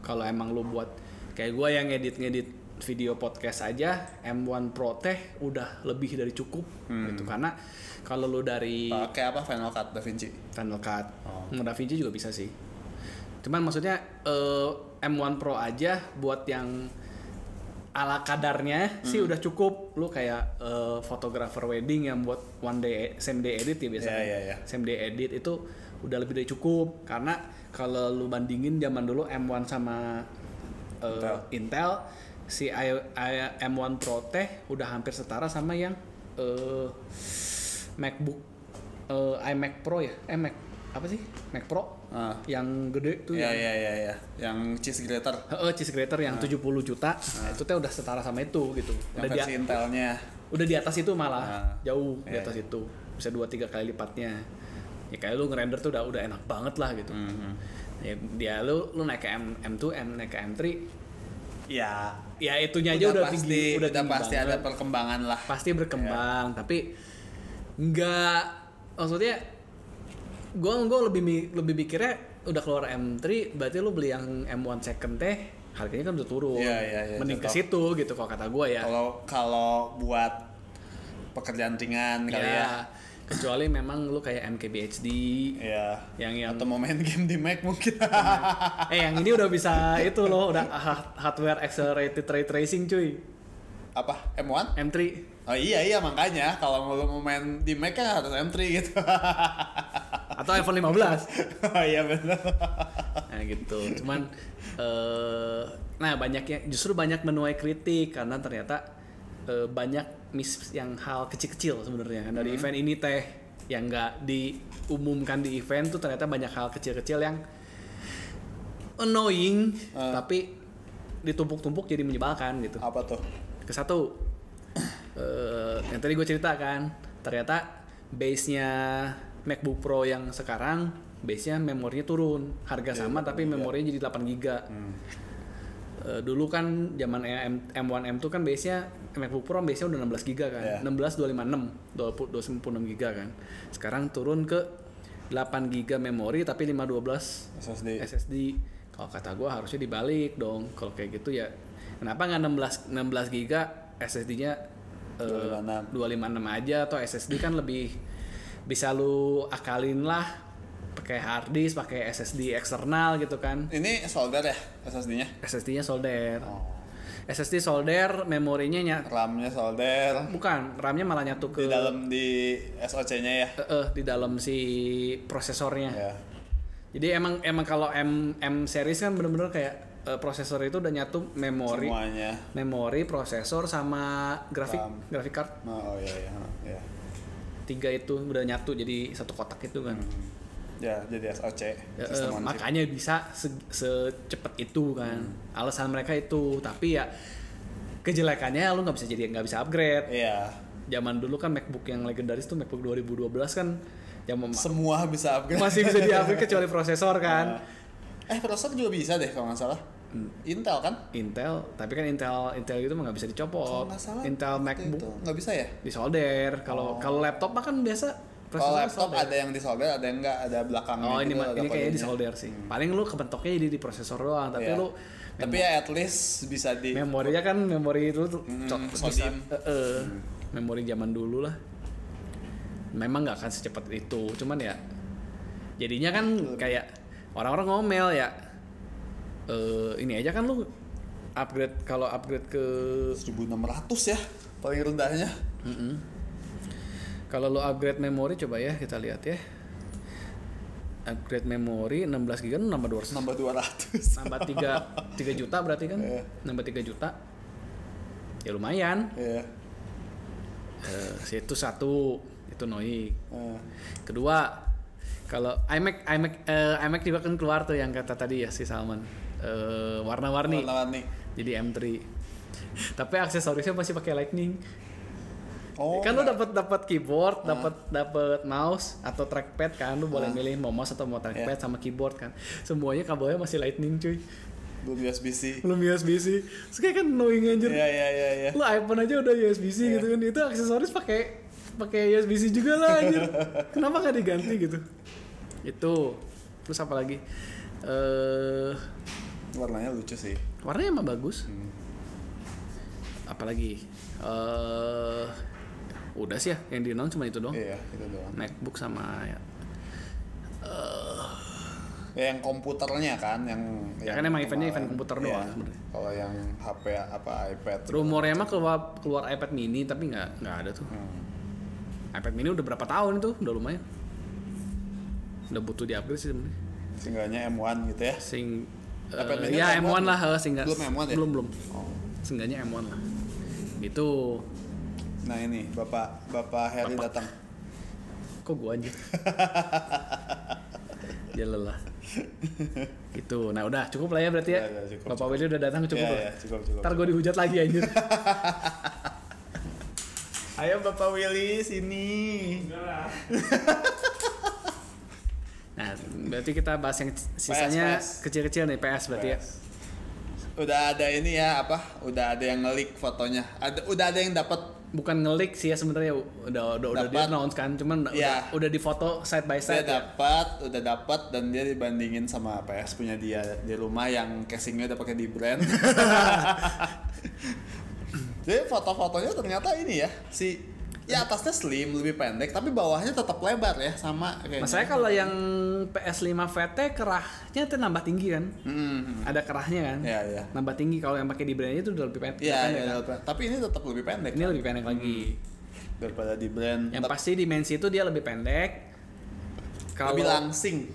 Speaker 1: kalau emang lu buat kayak gue yang ngedit ngedit video podcast aja M1 Pro teh udah lebih dari cukup gitu karena kalau lu dari
Speaker 2: Pakai apa Final Cut Da Vinci?
Speaker 1: Final Cut.
Speaker 2: Oh.
Speaker 1: Mau Da Vinci juga bisa sih. Cuman maksudnya eh, M1 Pro aja buat yang ala kadarnya sih
Speaker 2: Hmm.
Speaker 1: udah cukup. Lu kayak eh, fotografer wedding yang buat one day same day edit ya biasanya.
Speaker 2: Iya, iya, iya.
Speaker 1: Same day edit itu udah lebih dari cukup karena kalau lu bandingin zaman dulu M1 sama eh,
Speaker 2: Intel.
Speaker 1: Intel si I- I- M1 Pro teh udah hampir setara sama yang eh, MacBook eh, iMac Pro ya, eh Mac apa sih? Mac Pro
Speaker 2: Ah.
Speaker 1: yang gede tuh yang
Speaker 2: Iya iya iya iya. Yang cheese grater.
Speaker 1: Heeh, cheese grater yang 70 juta. Nah, itu teh udah setara sama itu gitu.
Speaker 2: Ah. Yang
Speaker 1: Udah di,
Speaker 2: versi Intelnya.
Speaker 1: udah di atas itu malah
Speaker 2: Ah.
Speaker 1: jauh di
Speaker 2: Iya,
Speaker 1: atas itu. Bisa 2 3 kali lipatnya. Ya kayak lu ngerender tuh udah udah enak banget lah gitu.
Speaker 2: Mhm.
Speaker 1: Ya, dia lu lu naik ke M M2, M naik ke M3,
Speaker 2: Ya.
Speaker 1: ya itunya aja udah,
Speaker 2: pasti,
Speaker 1: tinggi,
Speaker 2: udah,
Speaker 1: tinggi
Speaker 2: pasti
Speaker 1: banget.
Speaker 2: ada perkembangan lah.
Speaker 1: pasti
Speaker 2: Iya.
Speaker 1: berkembang tapi nggak maksudnya gue gue lebih mi- lebih mikirnya udah keluar M3 berarti lu beli yang M1 second teh harganya kan udah turun
Speaker 2: Iya, iya, iya,
Speaker 1: mending ke
Speaker 2: cocok.
Speaker 1: situ gitu kalau kata gue ya
Speaker 2: Kalau kalau buat pekerjaan ringan kali
Speaker 1: Ya,
Speaker 2: ya.
Speaker 1: kecuali memang lu kayak MKBHD
Speaker 2: Iya.
Speaker 1: yang yang
Speaker 2: Atau mau main game di Mac mungkin.
Speaker 1: eh yang ini udah bisa itu loh udah hard- hardware accelerated ray tracing cuy
Speaker 2: apa? M1?
Speaker 1: M3
Speaker 2: Oh iya iya makanya kalau mau mau main di Mac kan harus M3 gitu.
Speaker 1: atau iPhone 15
Speaker 2: oh iya benar.
Speaker 1: nah gitu cuman eh nah banyaknya justru banyak menuai kritik karena ternyata eh, banyak miss yang hal kecil-kecil sebenarnya dari event ini teh yang nggak diumumkan di event tuh ternyata banyak hal kecil-kecil yang annoying tapi ditumpuk-tumpuk jadi menyebalkan gitu
Speaker 2: Apa tuh?
Speaker 1: ke satu eh, yang tadi gue ceritakan ternyata base nya MacBook Pro yang sekarang base nya memorinya turun harga sama tapi memorinya jadi 8 giga Eh, dulu kan zaman M- M1 M2 kan base nya MacBook Pro base nya udah 16 giga kan
Speaker 2: Iya.
Speaker 1: 16 256 20 256 giga kan sekarang turun ke 8 giga memori tapi 512
Speaker 2: SSD.
Speaker 1: SSD. Kalau kata gue harusnya dibalik dong. Kalau kayak gitu ya kenapa nggak 16 16 giga SSD-nya eh,
Speaker 2: 256.
Speaker 1: 256 aja atau SSD kan lebih bisa lu akalin lah pakai hard disk, pakai SSD eksternal gitu kan.
Speaker 2: Ini solder ya SSD-nya?
Speaker 1: SSD-nya solder.
Speaker 2: Oh.
Speaker 1: SSD solder, memorinya nyat
Speaker 2: RAM-nya solder.
Speaker 1: bukan, RAM-nya malah nyatu ke
Speaker 2: Di dalam di SOC-nya ya.
Speaker 1: eh, eh, di dalam si prosesornya.
Speaker 2: Ya.
Speaker 1: Jadi emang emang kalau M M series kan bener-bener kayak eh, prosesor itu udah nyatu memori,
Speaker 2: Semuanya.
Speaker 1: memori, prosesor sama grafik
Speaker 2: RAM.
Speaker 1: grafik card
Speaker 2: Oh, oh iya iya. iya.
Speaker 1: tiga itu udah nyatu jadi satu kotak itu kan.
Speaker 2: Ya, jadi SOC.
Speaker 1: Ya, eh,
Speaker 2: Sistem on chip.
Speaker 1: makanya bisa se- secepat itu kan. Alasan mereka itu, tapi ya kejelekannya lu nggak bisa jadi nggak bisa upgrade.
Speaker 2: Iya.
Speaker 1: Zaman dulu kan MacBook yang legendaris tuh MacBook 2012 kan yang mem-
Speaker 2: Semua bisa upgrade.
Speaker 1: masih bisa di-upgrade kecuali prosesor kan. Hmm.
Speaker 2: Eh, prosesor juga bisa deh kalau nggak salah. Intel kan?
Speaker 1: Intel, tapi kan Intel Intel itu mah nggak bisa
Speaker 2: Kalau
Speaker 1: dicopot.
Speaker 2: nggak salah.
Speaker 1: Intel
Speaker 2: waktu
Speaker 1: MacBook
Speaker 2: itu Oh. nggak bisa ya?
Speaker 1: disolder. Kalau kalau laptop mah kan biasa
Speaker 2: Kalau
Speaker 1: prosesornya
Speaker 2: laptop
Speaker 1: solder. ya?
Speaker 2: ada yang disolder, ada yang nggak, ada belakangnya.
Speaker 1: Oh ini
Speaker 2: gitu,
Speaker 1: mah
Speaker 2: ada
Speaker 1: ini kayaknya
Speaker 2: kodenya.
Speaker 1: disolder sih.
Speaker 2: Hmm.
Speaker 1: Paling lu kepentoknya jadi di prosesor doang, tapi
Speaker 2: Iya.
Speaker 1: lu
Speaker 2: tapi ya at least bisa di
Speaker 1: memorinya kan memori itu tuh
Speaker 2: Hmm,
Speaker 1: cok- bisa-
Speaker 2: sodium.
Speaker 1: eh, eh,
Speaker 2: Hmm.
Speaker 1: memori zaman dulu lah. Memang nggak akan secepat itu, cuman ya jadinya kan kayak orang-orang ngomel ya. Eh ini aja kan lu upgrade kalau upgrade ke
Speaker 2: 1600 ya paling rendahnya.
Speaker 1: Kalau lo upgrade memori coba ya kita lihat ya. Upgrade memori 16 GB nambah 200
Speaker 2: Nambah 200.
Speaker 1: nambah 3 3 juta berarti kan?
Speaker 2: Iya.
Speaker 1: Nambah 3 juta. Ya lumayan.
Speaker 2: Iya.
Speaker 1: Eh, situ satu itu noik.
Speaker 2: Eh,
Speaker 1: Kedua, kalau iMac iMac eh, iMac juga kan keluar tuh yang kata tadi ya si Salman. Eh, warna-warni
Speaker 2: Warna-warni.
Speaker 1: jadi M3. Tapi aksesorisnya masih pakai Lightning.
Speaker 2: Oh. Ah.
Speaker 1: kan lu dapat dapat keyboard, dapat dapat mouse atau trackpad kan, lu boleh milih mau mouse atau mau trackpad
Speaker 2: Iya.
Speaker 1: sama keyboard kan. Semuanya kabelnya masih lightning cuy.
Speaker 2: belum USB-C.
Speaker 1: Belum USB-C. Terus kayak kan annoying anjir.
Speaker 2: Iya iya iya iya.
Speaker 1: Lu iPhone aja udah USB-C gitu kan. Itu aksesoris pakai pakai USB-C juga lah anjir. Kenapa nggak diganti gitu? Itu. Terus apa lagi? Eh
Speaker 2: Warnanya lucu sih. Hmm.
Speaker 1: warnanya emang bagus. apalagi eh udah sih ya yang di announce cuma itu doang
Speaker 2: Iya, itu doang.
Speaker 1: MacBook sama ya, Eh,
Speaker 2: Ya, yang komputernya kan, yang
Speaker 1: Ya
Speaker 2: yang
Speaker 1: kan emang eventnya
Speaker 2: kemarin.
Speaker 1: event komputer
Speaker 2: Iya.
Speaker 1: doang sebenarnya.
Speaker 2: Kalau yang HP apa iPad.
Speaker 1: rumornya mah keluar keluar iPad mini tapi nggak nggak ada tuh
Speaker 2: Hmm.
Speaker 1: iPad mini udah berapa tahun itu udah lumayan udah butuh di upgrade sih sebenarnya
Speaker 2: Seenggaknya M1 gitu ya.
Speaker 1: sing
Speaker 2: iPad
Speaker 1: eh,
Speaker 2: mini
Speaker 1: ya
Speaker 2: belum
Speaker 1: M1
Speaker 2: M1
Speaker 1: lah eh, sehingga
Speaker 2: Belum M1 ya?
Speaker 1: belum belum
Speaker 2: Oh.
Speaker 1: seenggaknya M1 lah gitu
Speaker 2: Nah ini bapak bapak Heri datang.
Speaker 1: kok gua aja ya lelah gitu nah udah cukup lah ya berarti ya,
Speaker 2: Ya, ya, cukup,
Speaker 1: bapak Willy udah datang cukup
Speaker 2: ya,
Speaker 1: lah
Speaker 2: ya, cukup cukup.
Speaker 1: ntar gua dihujat lagi anjir
Speaker 2: Ayo bapak Willy sini.
Speaker 1: nah berarti kita bahas yang sisanya
Speaker 2: PS.
Speaker 1: kecil-kecil nih PS berarti ya
Speaker 2: Udah ada ini ya apa? Udah ada yang ngelik fotonya. Ada udah ada yang dapat.
Speaker 1: bukan ngelik sih ya sebenarnya udah udah udah di
Speaker 2: Dapat. Iya,
Speaker 1: announce kan cuman udah-
Speaker 2: Ya.
Speaker 1: udah, di foto side by
Speaker 2: Saya
Speaker 1: side ya.
Speaker 2: dapat, udah dapat dan dia dibandingin sama PS punya dia di rumah yang casingnya udah pakai di brand. Jadi foto-fotonya ternyata ini ya si ya atasnya slim lebih pendek tapi bawahnya tetap lebar ya sama kayaknya.
Speaker 1: Masalahnya kalau yang PS5 VT kerahnya tuh nambah tinggi kan
Speaker 2: Hmm,
Speaker 1: ada kerahnya kan
Speaker 2: ya ya.
Speaker 1: nambah tinggi kalau yang pakai di brand itu udah lebih pendek
Speaker 2: Iya,
Speaker 1: kan,
Speaker 2: iya,
Speaker 1: ya kan?
Speaker 2: iya. tapi ini tetap lebih pendek
Speaker 1: ini lebih pendek lagi
Speaker 2: daripada di brand.
Speaker 1: yang
Speaker 2: Tetap
Speaker 1: pasti dimensi itu dia lebih pendek kalau
Speaker 2: lebih langsing.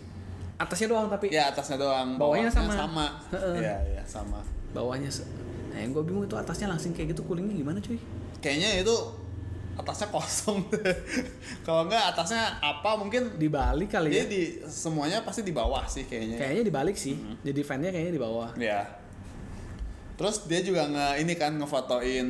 Speaker 1: atasnya doang tapi
Speaker 2: Ya atasnya doang,
Speaker 1: Bawahnya sama.
Speaker 2: sama.
Speaker 1: Heeh.
Speaker 2: Iya, iya, sama.
Speaker 1: bawahnya se- nah yang gue bingung itu atasnya langsing kayak gitu coolingnya gimana cuy
Speaker 2: Kayaknya itu atasnya kosong. Kalau enggak atasnya apa mungkin
Speaker 1: dibalik kali ya
Speaker 2: dia di semuanya pasti di Mhm. bawah sih kayaknya.
Speaker 1: kayaknya dibalik sih jadi fannya kayaknya di bawah
Speaker 2: Iya. Terus dia juga nge ini kan ngefotoin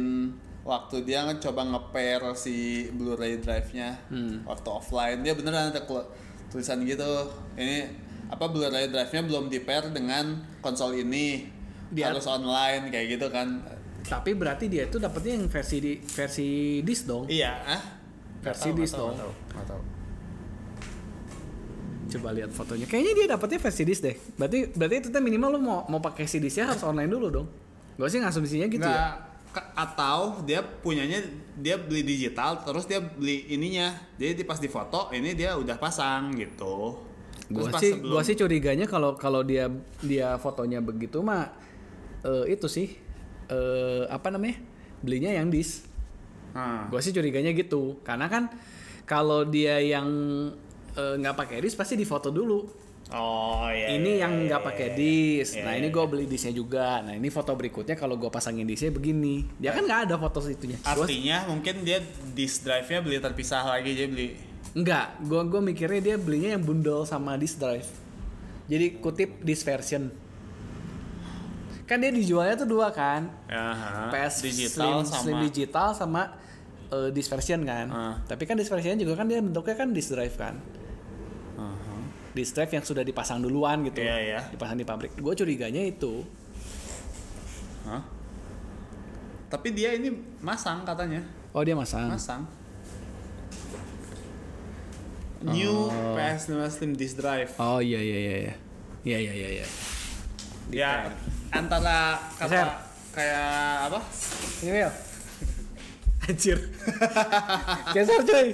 Speaker 2: waktu dia coba nge-pair si Blu-ray drive-nya
Speaker 1: Hmm.
Speaker 2: waktu offline dia beneran ada kelu- tulisan gitu ini apa Blu-ray drive-nya belum di-pair dengan konsol ini
Speaker 1: Dia-
Speaker 2: harus online kayak gitu kan
Speaker 1: tapi berarti dia itu dapetnya yang versi di versi disk dong
Speaker 2: iya ah
Speaker 1: Versi disk dong.
Speaker 2: tahu
Speaker 1: coba lihat fotonya kayaknya dia dapetnya versi disk deh berarti berarti itu tuh minimal lo mau mau pakai si disknya harus online dulu dong gue sih ngasumsinya gitu ya
Speaker 2: Nggak, ke- atau dia punyanya dia beli digital terus dia beli ininya jadi di- pas di foto ini dia udah pasang gitu
Speaker 1: Gua
Speaker 2: Terus pas
Speaker 1: sih
Speaker 2: sebelum-
Speaker 1: gua sih curiganya kalau kalau dia dia fotonya begitu mah eh, itu sih eh, apa namanya belinya yang dis
Speaker 2: Hmm.
Speaker 1: gua sih curiganya gitu karena kan kalau dia yang eh, nggak pakai dis pasti difoto dulu
Speaker 2: oh iya
Speaker 1: ini
Speaker 2: iya,
Speaker 1: yang
Speaker 2: iya,
Speaker 1: nggak
Speaker 2: iya,
Speaker 1: pakai
Speaker 2: iya.
Speaker 1: disk
Speaker 2: Iya,
Speaker 1: nah
Speaker 2: iya,
Speaker 1: ini gua beli disknya juga nah ini foto berikutnya kalau gua pasangin disknya begini dia kan nggak ada foto situnya Gua-
Speaker 2: artinya mungkin dia disk drive nya beli terpisah lagi jadi beli
Speaker 1: Enggak, gua gua mikirnya dia belinya yang bundle sama disk drive. Jadi kutip disk version. Kan dia dijualnya tuh dua kan,
Speaker 2: Aha,
Speaker 1: PS
Speaker 2: Ah, digital
Speaker 1: slim,
Speaker 2: sama
Speaker 1: slim digital sama eh, disk version kan.
Speaker 2: Ah.
Speaker 1: Tapi kan disk version juga kan dia bentuknya kan disk drive kan.
Speaker 2: Aha.
Speaker 1: Disk drive yang sudah dipasang duluan gitu.
Speaker 2: Iya, iya.
Speaker 1: Dipasang di pabrik. Gue curiganya itu.
Speaker 2: Hah? tapi dia ini masang katanya
Speaker 1: Oh, dia masang.
Speaker 2: masang new PS E Slim disk drive
Speaker 1: Oh, iya iya iya iya. Iya iya iya iya.
Speaker 2: ya antara kata
Speaker 1: Geser.
Speaker 2: kayak apa
Speaker 1: Ini Will. Anjir. Geser cuy.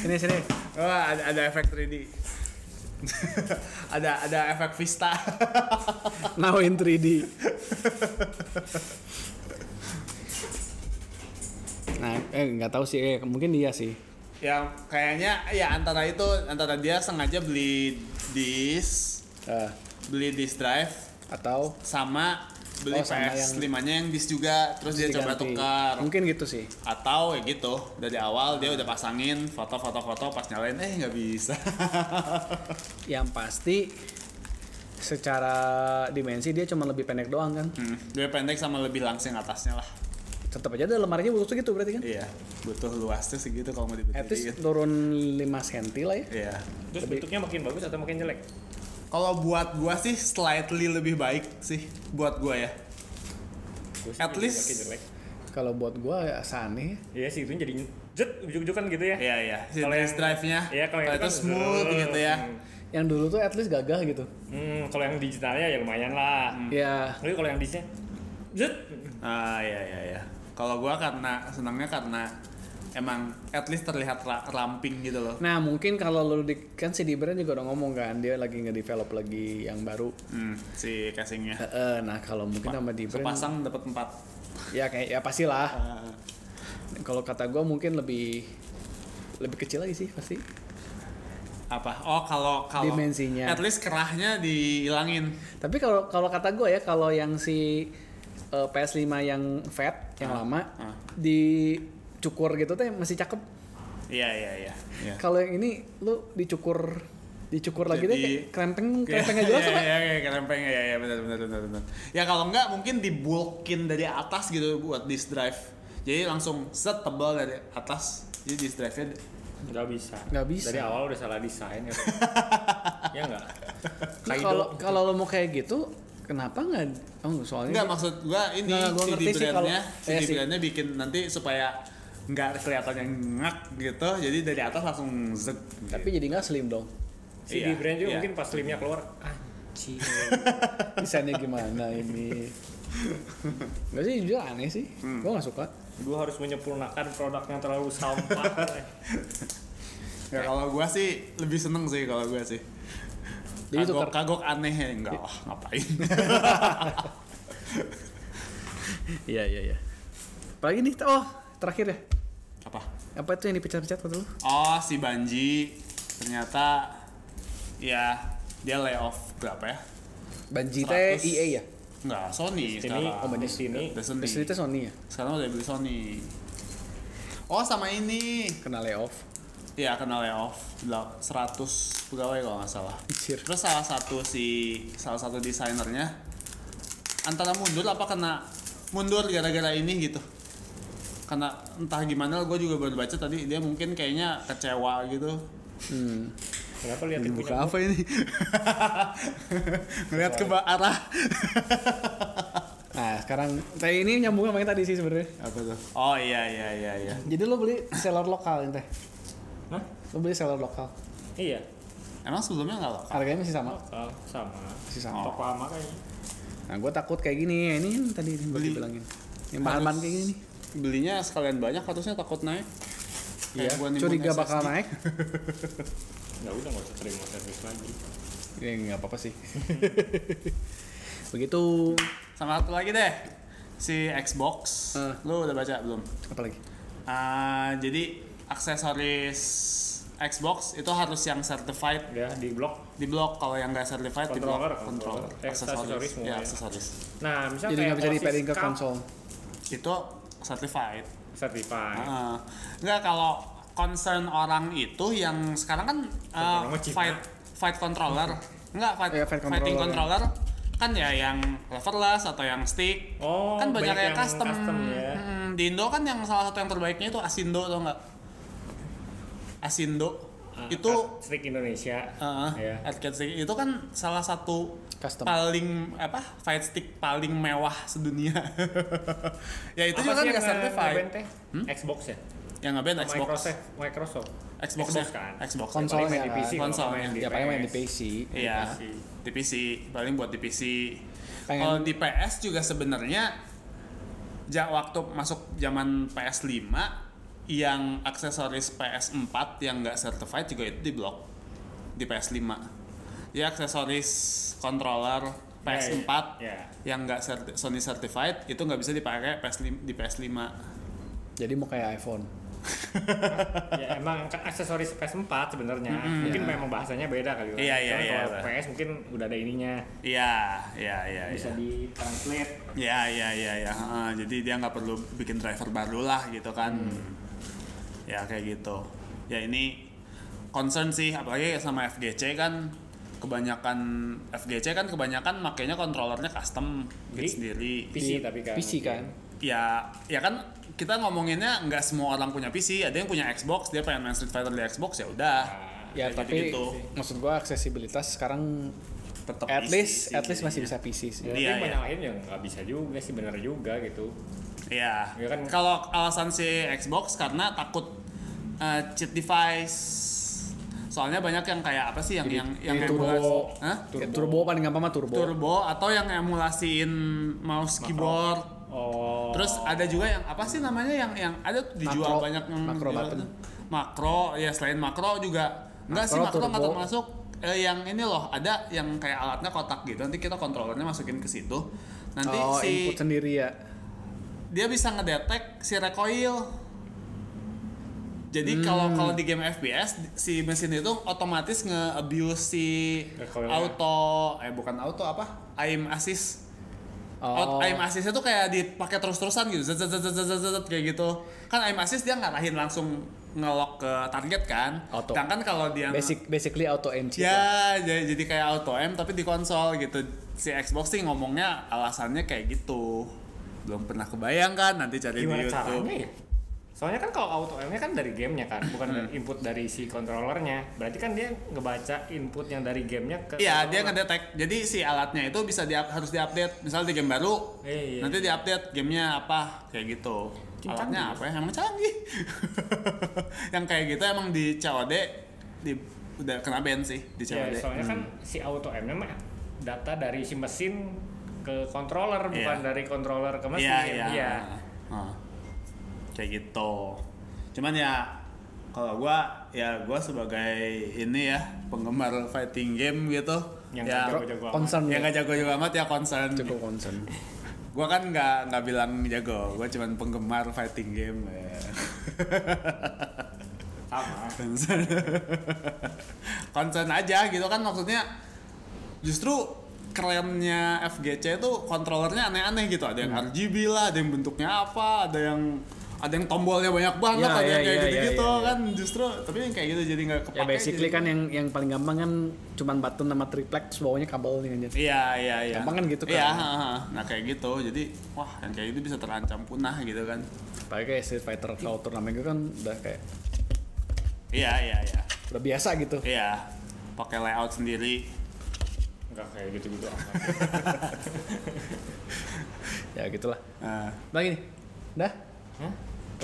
Speaker 1: Sini sini.
Speaker 2: Wah, Oh, ada, ada efek 3D ada ada efek Vista
Speaker 1: Now in 3D. Nah, eh nggak tahu sih, eh, mungkin dia sih.
Speaker 2: ya kayaknya ya antara itu antara dia sengaja beli disk
Speaker 1: Eh,
Speaker 2: beli disk drive
Speaker 1: atau
Speaker 2: sama beli
Speaker 1: Oh, sama
Speaker 2: PS 5 nya yang disk juga terus dia coba
Speaker 1: diganti.
Speaker 2: tukar
Speaker 1: Mungkin gitu sih.
Speaker 2: atau ya gitu dari awal dia udah pasangin foto-foto-foto pas nyalain eh nggak bisa
Speaker 1: Yang pasti secara dimensi dia cuma lebih pendek doang kan.
Speaker 2: hmm, dia pendek sama lebih langsing atasnya lah
Speaker 1: Tetap aja ada lemarinya butuh segitu berarti kan.
Speaker 2: iya butuh luasnya segitu kalau mau
Speaker 1: At least
Speaker 2: dibetulin
Speaker 1: turun 5 cm lah ya.
Speaker 2: iya
Speaker 3: Terus bentuknya makin bagus atau makin jelek?
Speaker 2: Kalau buat gua sih slightly lebih baik sih buat gua ya.
Speaker 3: Gua sih
Speaker 2: At
Speaker 3: makin
Speaker 2: least-
Speaker 3: jelek.
Speaker 1: Kalau buat gua ya Sane
Speaker 3: Iya sih itu jadi jet ujung-ujungan gitu ya.
Speaker 2: Iya iya. Si
Speaker 3: Kalau
Speaker 2: disk
Speaker 3: yang-
Speaker 2: drive-nya.
Speaker 3: Iya kalau yang
Speaker 2: itu,
Speaker 3: kan-
Speaker 2: smooth gitu ya.
Speaker 3: Hmm.
Speaker 1: yang dulu tuh at least gagah gitu
Speaker 3: Hmm, kalau yang digitalnya ya lumayan lah.
Speaker 1: ya
Speaker 3: Tapi kalau yang disknya zet.
Speaker 2: Ah iya iya iya. Kalau gua karena senangnya karena emang at least terlihat ra- ramping gitu loh.
Speaker 1: Nah mungkin kalau lu di, kan si Dibran juga udah ngomong kan dia lagi nge-develop lagi yang baru.
Speaker 2: Hmm, si casingnya.
Speaker 1: Eh, eh, nah kalau mungkin sama Dibran
Speaker 2: Sepasang dapat empat.
Speaker 1: ya kayak ya pastilah.
Speaker 2: Ah,
Speaker 1: Kalau kata gua mungkin lebih lebih kecil lagi sih pasti.
Speaker 2: apa? Oh kalau kalau
Speaker 1: Dimensinya.
Speaker 2: At least kerahnya dihilangin.
Speaker 1: Tapi kalau kalau kata gua ya kalau yang si eh, PS5 yang fat yang lama
Speaker 2: ah.
Speaker 1: dicukur gitu teh masih cakep.
Speaker 2: Iya iya iya. Iya.
Speaker 1: Kalau yang ini lu dicukur dicukur lagi deh
Speaker 2: Jadi-
Speaker 1: kayak krempeng krempeng aja jelas
Speaker 2: Iya,
Speaker 1: apa?
Speaker 2: Iya, iya, kerempeng ya, ya, benar, benar, benar, benar. Ya kalau enggak mungkin dibulkin dari atas gitu buat disk drive. Jadi langsung set tebal dari atas. Jadi disk drive-nya
Speaker 3: Nggak bisa.
Speaker 1: Nggak bisa.
Speaker 3: Dari awal udah salah desain ya. ya nggak.
Speaker 1: Nah,
Speaker 3: Kaido.
Speaker 1: kalau kalau lo mau kayak gitu, kenapa nggak? Oh, soalnya
Speaker 2: enggak maksud gua ini
Speaker 1: Nggak, gua
Speaker 2: CD
Speaker 1: ngerti sih
Speaker 2: brandnya,
Speaker 1: kalau-
Speaker 2: CD
Speaker 1: iya sih.
Speaker 2: brandnya bikin nanti supaya enggak kelihatan yang ngak gitu. Jadi dari atas langsung gitu. zek.
Speaker 1: tapi jadi nggak slim dong.
Speaker 3: Si
Speaker 2: Iya,
Speaker 3: Gibran juga
Speaker 2: iya.
Speaker 3: mungkin pas slimnya keluar "Ah, anjir.
Speaker 1: Desainnya gimana ini? Gak sih jujur aneh sih. Gue nggak suka.
Speaker 3: Gue harus menyempurnakan produk yang terlalu sampah.
Speaker 2: Ya kalau gua sih lebih seneng sih kalau gua sih.
Speaker 1: Jadi
Speaker 2: kagok,
Speaker 1: tukar-
Speaker 2: kagok aneh ya enggak. Wah, ngapain?
Speaker 1: Iya iya iya. Apalagi nih, oh terakhir ya.
Speaker 2: Apa?
Speaker 1: Apa itu yang dipecat-pecat waktu lu?
Speaker 2: Oh, si Banji ternyata ya dia layoff berapa ya?
Speaker 1: Banji teh
Speaker 2: 100.
Speaker 1: EA ya?
Speaker 2: Enggak, Sony
Speaker 3: Ini
Speaker 2: sekarang.
Speaker 3: di sini
Speaker 2: Udah Sony.
Speaker 1: Terus itu Sony ya?
Speaker 2: Sekarang udah beli Sony. Oh, sama ini.
Speaker 1: Kena layoff.
Speaker 2: Ya, kena layoff. Lah, 100 pegawai kalau nggak salah.
Speaker 1: Anjir.
Speaker 2: Terus salah satu si salah satu desainernya antara mundur apa kena mundur gara-gara ini gitu. Karena entah gimana gue juga baru baca tadi dia mungkin kayaknya kecewa gitu
Speaker 1: Hmm.
Speaker 3: kenapa liatin punya
Speaker 1: Buka apa ini?
Speaker 2: ngeliat ke ba- arah
Speaker 1: Nah sekarang, teh ini nyambung sama yang tadi sih sebenarnya.
Speaker 2: apa tuh oh iya iya iya iya
Speaker 1: Jadi lo beli seller lokal teh?
Speaker 3: Hah?
Speaker 1: Lo beli seller lokal.
Speaker 3: Iya.
Speaker 2: emang sebelumnya nggak lokal
Speaker 1: Harganya masih sama?
Speaker 3: Lokal sama.
Speaker 1: Masih sama.
Speaker 2: Oh.
Speaker 3: Toko lama kayaknya.
Speaker 1: Nah, gue takut kayak gini ya. Ini yang tadi yang gue
Speaker 2: Beli.
Speaker 1: bilangin. Yang bahan-bahan
Speaker 2: Harus
Speaker 1: kayak gini nih.
Speaker 2: belinya sekalian banyak harusnya takut naik
Speaker 1: Iya,
Speaker 2: Kayak gua nimbun
Speaker 1: curiga
Speaker 2: SSD.
Speaker 1: bakal naik.
Speaker 3: Nggak Ya udah nggak usah terima servis lagi.
Speaker 1: Ya nggak apa-apa sih. Begitu.
Speaker 2: sama satu lagi deh si Xbox
Speaker 1: Eh.
Speaker 2: lu udah baca belum
Speaker 1: Apalagi?
Speaker 2: Ah, jadi aksesoris Xbox itu harus yang certified
Speaker 3: Ya di blok.
Speaker 2: di blok kalau yang nggak certified di blok
Speaker 3: Controller,
Speaker 2: controller
Speaker 3: controller. Eh, Aksesoris semua
Speaker 2: ya
Speaker 3: ya.
Speaker 2: aksesoris
Speaker 3: Nah misalnya
Speaker 1: Jadi nggak bisa
Speaker 3: OSIS
Speaker 1: di ke
Speaker 3: Cup
Speaker 1: konsol.
Speaker 2: itu certified
Speaker 1: Ah.
Speaker 3: Certified.
Speaker 2: Heeh. Enggak kalau concern orang itu yang sekarang kan eh,
Speaker 3: Orang ya? mah Cina.
Speaker 2: fight fight controller. Enggak fight,
Speaker 1: Iya, fight
Speaker 2: fighting
Speaker 1: controller,
Speaker 2: controller kan ya yang leverless atau yang stick.
Speaker 3: Oh,
Speaker 2: kan banyak, yang, custom.
Speaker 3: ya.
Speaker 2: Mm, di Indo kan yang salah satu yang terbaiknya itu Asindo atau enggak? Asindo
Speaker 3: Ah,
Speaker 2: itu
Speaker 3: Art Stick Indonesia.
Speaker 2: eh,
Speaker 3: ya.
Speaker 2: arcade stick itu kan salah satu
Speaker 1: Custom.
Speaker 2: paling apa fight stick paling mewah sedunia ya itu juga kan
Speaker 3: Apa sih yang
Speaker 2: nggak certified
Speaker 3: nge-ban teh? Xbox ya?
Speaker 2: yang ngeband Xbox
Speaker 3: Microsoft, Microsoft.
Speaker 2: Xbox, ya?
Speaker 3: kan.
Speaker 2: Xbox
Speaker 1: Konsol
Speaker 3: Paling main
Speaker 1: ya
Speaker 3: di PC,
Speaker 1: kan?
Speaker 3: kalau nggak
Speaker 2: Konsolnya.
Speaker 3: main di
Speaker 1: Ya paling main di
Speaker 3: PS.
Speaker 1: PC.
Speaker 2: Iya,
Speaker 3: PC.
Speaker 2: di PC paling buat di PC.
Speaker 1: Pengen-
Speaker 2: Kalau di PS juga sebenarnya ja, waktu masuk zaman PS5 yang aksesoris PS4 yang nggak certified juga itu di blok di PS5. Ya aksesoris controller PS4
Speaker 3: Ya,
Speaker 2: yang nggak certi- Sony certified itu nggak bisa dipakai PS5 di PS5.
Speaker 1: Jadi mau kayak iPhone.
Speaker 3: ya emang kan aksesoris PS4 sebenarnya. Mungkin memang bahasanya beda kali. kan.
Speaker 2: Ya. Iya, iya,
Speaker 3: Cuman
Speaker 2: iya,
Speaker 3: Kalau
Speaker 2: Pak.
Speaker 3: PS mungkin udah ada ininya.
Speaker 2: Iya, iya, iya.
Speaker 3: Bisa
Speaker 2: iya.
Speaker 3: di-translate.
Speaker 2: Ya, ya, ya, ya. Heeh, jadi dia nggak perlu bikin driver baru lah gitu kan. Ya kayak gitu. Ya ini concern sih, apalagi sama FGC kan kebanyakan FGC kan kebanyakan makainya kontrolernya custom
Speaker 3: Di-
Speaker 2: gitu sendiri.
Speaker 3: PC
Speaker 1: Di-
Speaker 3: tapi kan.
Speaker 1: PC kan.
Speaker 2: Ya, ya kan kita ngomonginnya nggak semua orang punya PC, ada yang punya Xbox, dia pengen main Street Fighter di Xbox ya udah.
Speaker 1: Ya
Speaker 2: Kayak
Speaker 1: tapi
Speaker 2: gitu-gitu.
Speaker 1: maksud gua aksesibilitas sekarang
Speaker 2: Tetap
Speaker 1: at
Speaker 2: PC
Speaker 1: least
Speaker 2: sih
Speaker 1: at least masih bisa
Speaker 2: jadinya.
Speaker 1: PC sih.
Speaker 3: Ya,
Speaker 2: Iya,
Speaker 3: tapi
Speaker 2: iya.
Speaker 3: banyak lain yang nggak bisa juga sih, bener juga gitu.
Speaker 2: Iya.
Speaker 3: Ya kan?
Speaker 2: Kalau alasan si Xbox karena takut eh, cheat device. Soalnya banyak yang kayak apa sih yang yang yang
Speaker 1: jadi turbo.
Speaker 2: emulasi- Hah?
Speaker 1: Turbo. paling gampang mah turbo.
Speaker 2: Turbo atau yang emulasiin mouse keyboard.
Speaker 3: Oh.
Speaker 2: Terus ada juga yang apa sih namanya yang yang ada tuh dijual
Speaker 1: Makro.
Speaker 2: banyak yang
Speaker 1: Makro
Speaker 2: dijual
Speaker 1: button.
Speaker 2: tuh. Makro ya selain makro juga. Enggak sih
Speaker 1: Makro,
Speaker 2: makro nggak
Speaker 1: turbo.
Speaker 2: termasuk eh, yang ini loh ada yang kayak alatnya kotak gitu nanti kita kontrolernya masukin ke situ nanti
Speaker 1: oh,
Speaker 2: si
Speaker 1: input sendiri ya.
Speaker 2: dia bisa ngedetek si recoil. Jadi kalau
Speaker 1: Hmm.
Speaker 2: kalau di game FPS di- si mesin itu otomatis nge-abuse si
Speaker 3: Recoilnya.
Speaker 2: auto eh bukan auto apa? aim assist.
Speaker 1: Oh.
Speaker 2: Out- Aim assistnya tuh kayak dipakai terus-terusan gitu. Zet, zet, zet, zet, zet, zet, zet, kayak gitu. Kan aim assist dia ngarahin langsung ngelok ke target kan.
Speaker 1: Auto.
Speaker 2: Sedangkan kalau dia
Speaker 1: Basic basically auto MC.
Speaker 3: Gitu.
Speaker 2: Ya, jadi, jadi kayak auto aim tapi di konsol gitu. Si Xbox sih ngomongnya alasannya kayak gitu. Belum pernah kebayang kan nanti cari
Speaker 3: Gimana
Speaker 2: di YouTube.
Speaker 3: caranya ya? Soalnya kan kalau auto aim-nya kan dari gamenya kan, bukan
Speaker 2: Hmm.
Speaker 3: dari input dari si controllernya. Berarti kan dia ngebaca input yang dari gamenya ke.
Speaker 2: Iya, dia
Speaker 3: controller.
Speaker 2: ngedetek. Jadi si alatnya itu bisa di harus diupdate. Misal di game baru,
Speaker 3: Iya, iya.
Speaker 2: nanti diupdate gamenya apa kayak gitu.
Speaker 3: Canggih.
Speaker 2: alatnya apa ya? Emang canggih. Yang kayak gitu emang di COD di udah kena ban sih di COD.
Speaker 3: Iya, soalnya kan
Speaker 2: Hmm.
Speaker 3: si auto aim-nya mah data dari si mesin ke controller bukan
Speaker 2: Iya.
Speaker 3: dari controller ke mesin.
Speaker 2: Iya, iya. Heeh. Kayak gitu. Cuman ya kalau gua ya gua sebagai ini ya penggemar fighting game gitu.
Speaker 3: Yang
Speaker 2: ya,
Speaker 3: jago-jago amat.
Speaker 1: Concern ya.
Speaker 2: yang gak jago-jago amat ya concern.
Speaker 1: Cukup concern. Ya,
Speaker 2: Gua kan nggak nggak bilang jago, gua cuman penggemar fighting game. ya.
Speaker 3: Sama.
Speaker 2: concern. concern aja gitu kan maksudnya justru kerennya FGC itu kontrolernya aneh-aneh gitu ada yang
Speaker 1: Hmm.
Speaker 2: RGB lah ada yang bentuknya apa ada yang ada yang tombolnya banyak banget
Speaker 1: Ya,
Speaker 2: ada
Speaker 1: ya,
Speaker 2: yang kayak
Speaker 1: ya,
Speaker 2: gitu-gitu
Speaker 1: ya, ya, ya.
Speaker 2: kan justru tapi yang kayak gitu jadi nggak kepake
Speaker 1: Ya basically
Speaker 2: jadi-
Speaker 1: kan yang yang paling gampang kan cuman button sama triplex terus bawahnya kabel nih anjir.
Speaker 2: Iya, iya, iya.
Speaker 1: Gampang kan gitu kan?
Speaker 2: Iya, ha, ha. nah kayak gitu. Jadi, wah, yang kayak gitu bisa terancam punah gitu kan.
Speaker 1: Pakai kayak Street Fighter kalau turnamen gitu kan udah kayak
Speaker 2: Iya, iya, iya.
Speaker 1: udah biasa gitu.
Speaker 2: Iya. Pakai layout sendiri.
Speaker 3: Enggak kayak gitu-gitu amat.
Speaker 1: Ya gitulah.
Speaker 2: Nah,
Speaker 1: Lagi nih. Dah?
Speaker 3: Hah?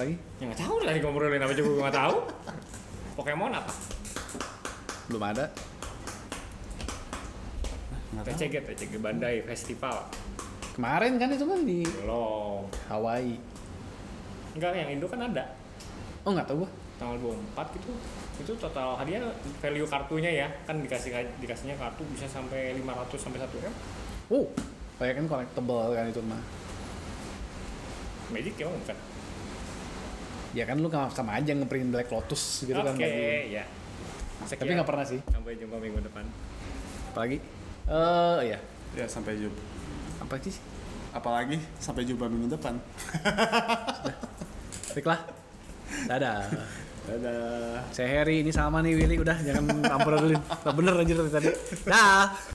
Speaker 1: Lagi?
Speaker 3: Ya nggak tahu tadi ngobrolin apa juga gue nggak tahu. Pokemon apa?
Speaker 1: Belum ada.
Speaker 2: nggak tahu.
Speaker 3: TCG, TCG Bandai Festival.
Speaker 1: Kemarin kan itu kan di
Speaker 3: Belum.
Speaker 1: Hawaii.
Speaker 3: Enggak, yang Indo kan ada.
Speaker 1: Oh nggak tahu gua.
Speaker 3: Tanggal 24 gitu. Itu total hadiah value kartunya ya. Kan dikasih dikasihnya kartu bisa sampai 500 sampai 1 M.
Speaker 1: Oh, kayak kan collectible kan itu mah.
Speaker 3: Magic ya bukan?
Speaker 1: Ya kan lu nggak- sama aja ngeprint Black Lotus gitu kan
Speaker 3: Oke,
Speaker 1: bagi.
Speaker 3: ya.
Speaker 1: Tapi nggak pernah sih.
Speaker 3: Sampai jumpa minggu depan.
Speaker 1: Apalagi? Eh ya,
Speaker 2: Ya, sampai jumpa.
Speaker 1: apa sih?
Speaker 2: apalagi sampai jumpa minggu depan.
Speaker 1: Baiklah. Dadah.
Speaker 2: Dadah.
Speaker 1: Saya Heri, ini sama nih Willy udah jangan campur dulu. Bener anjir dari tadi. Dah.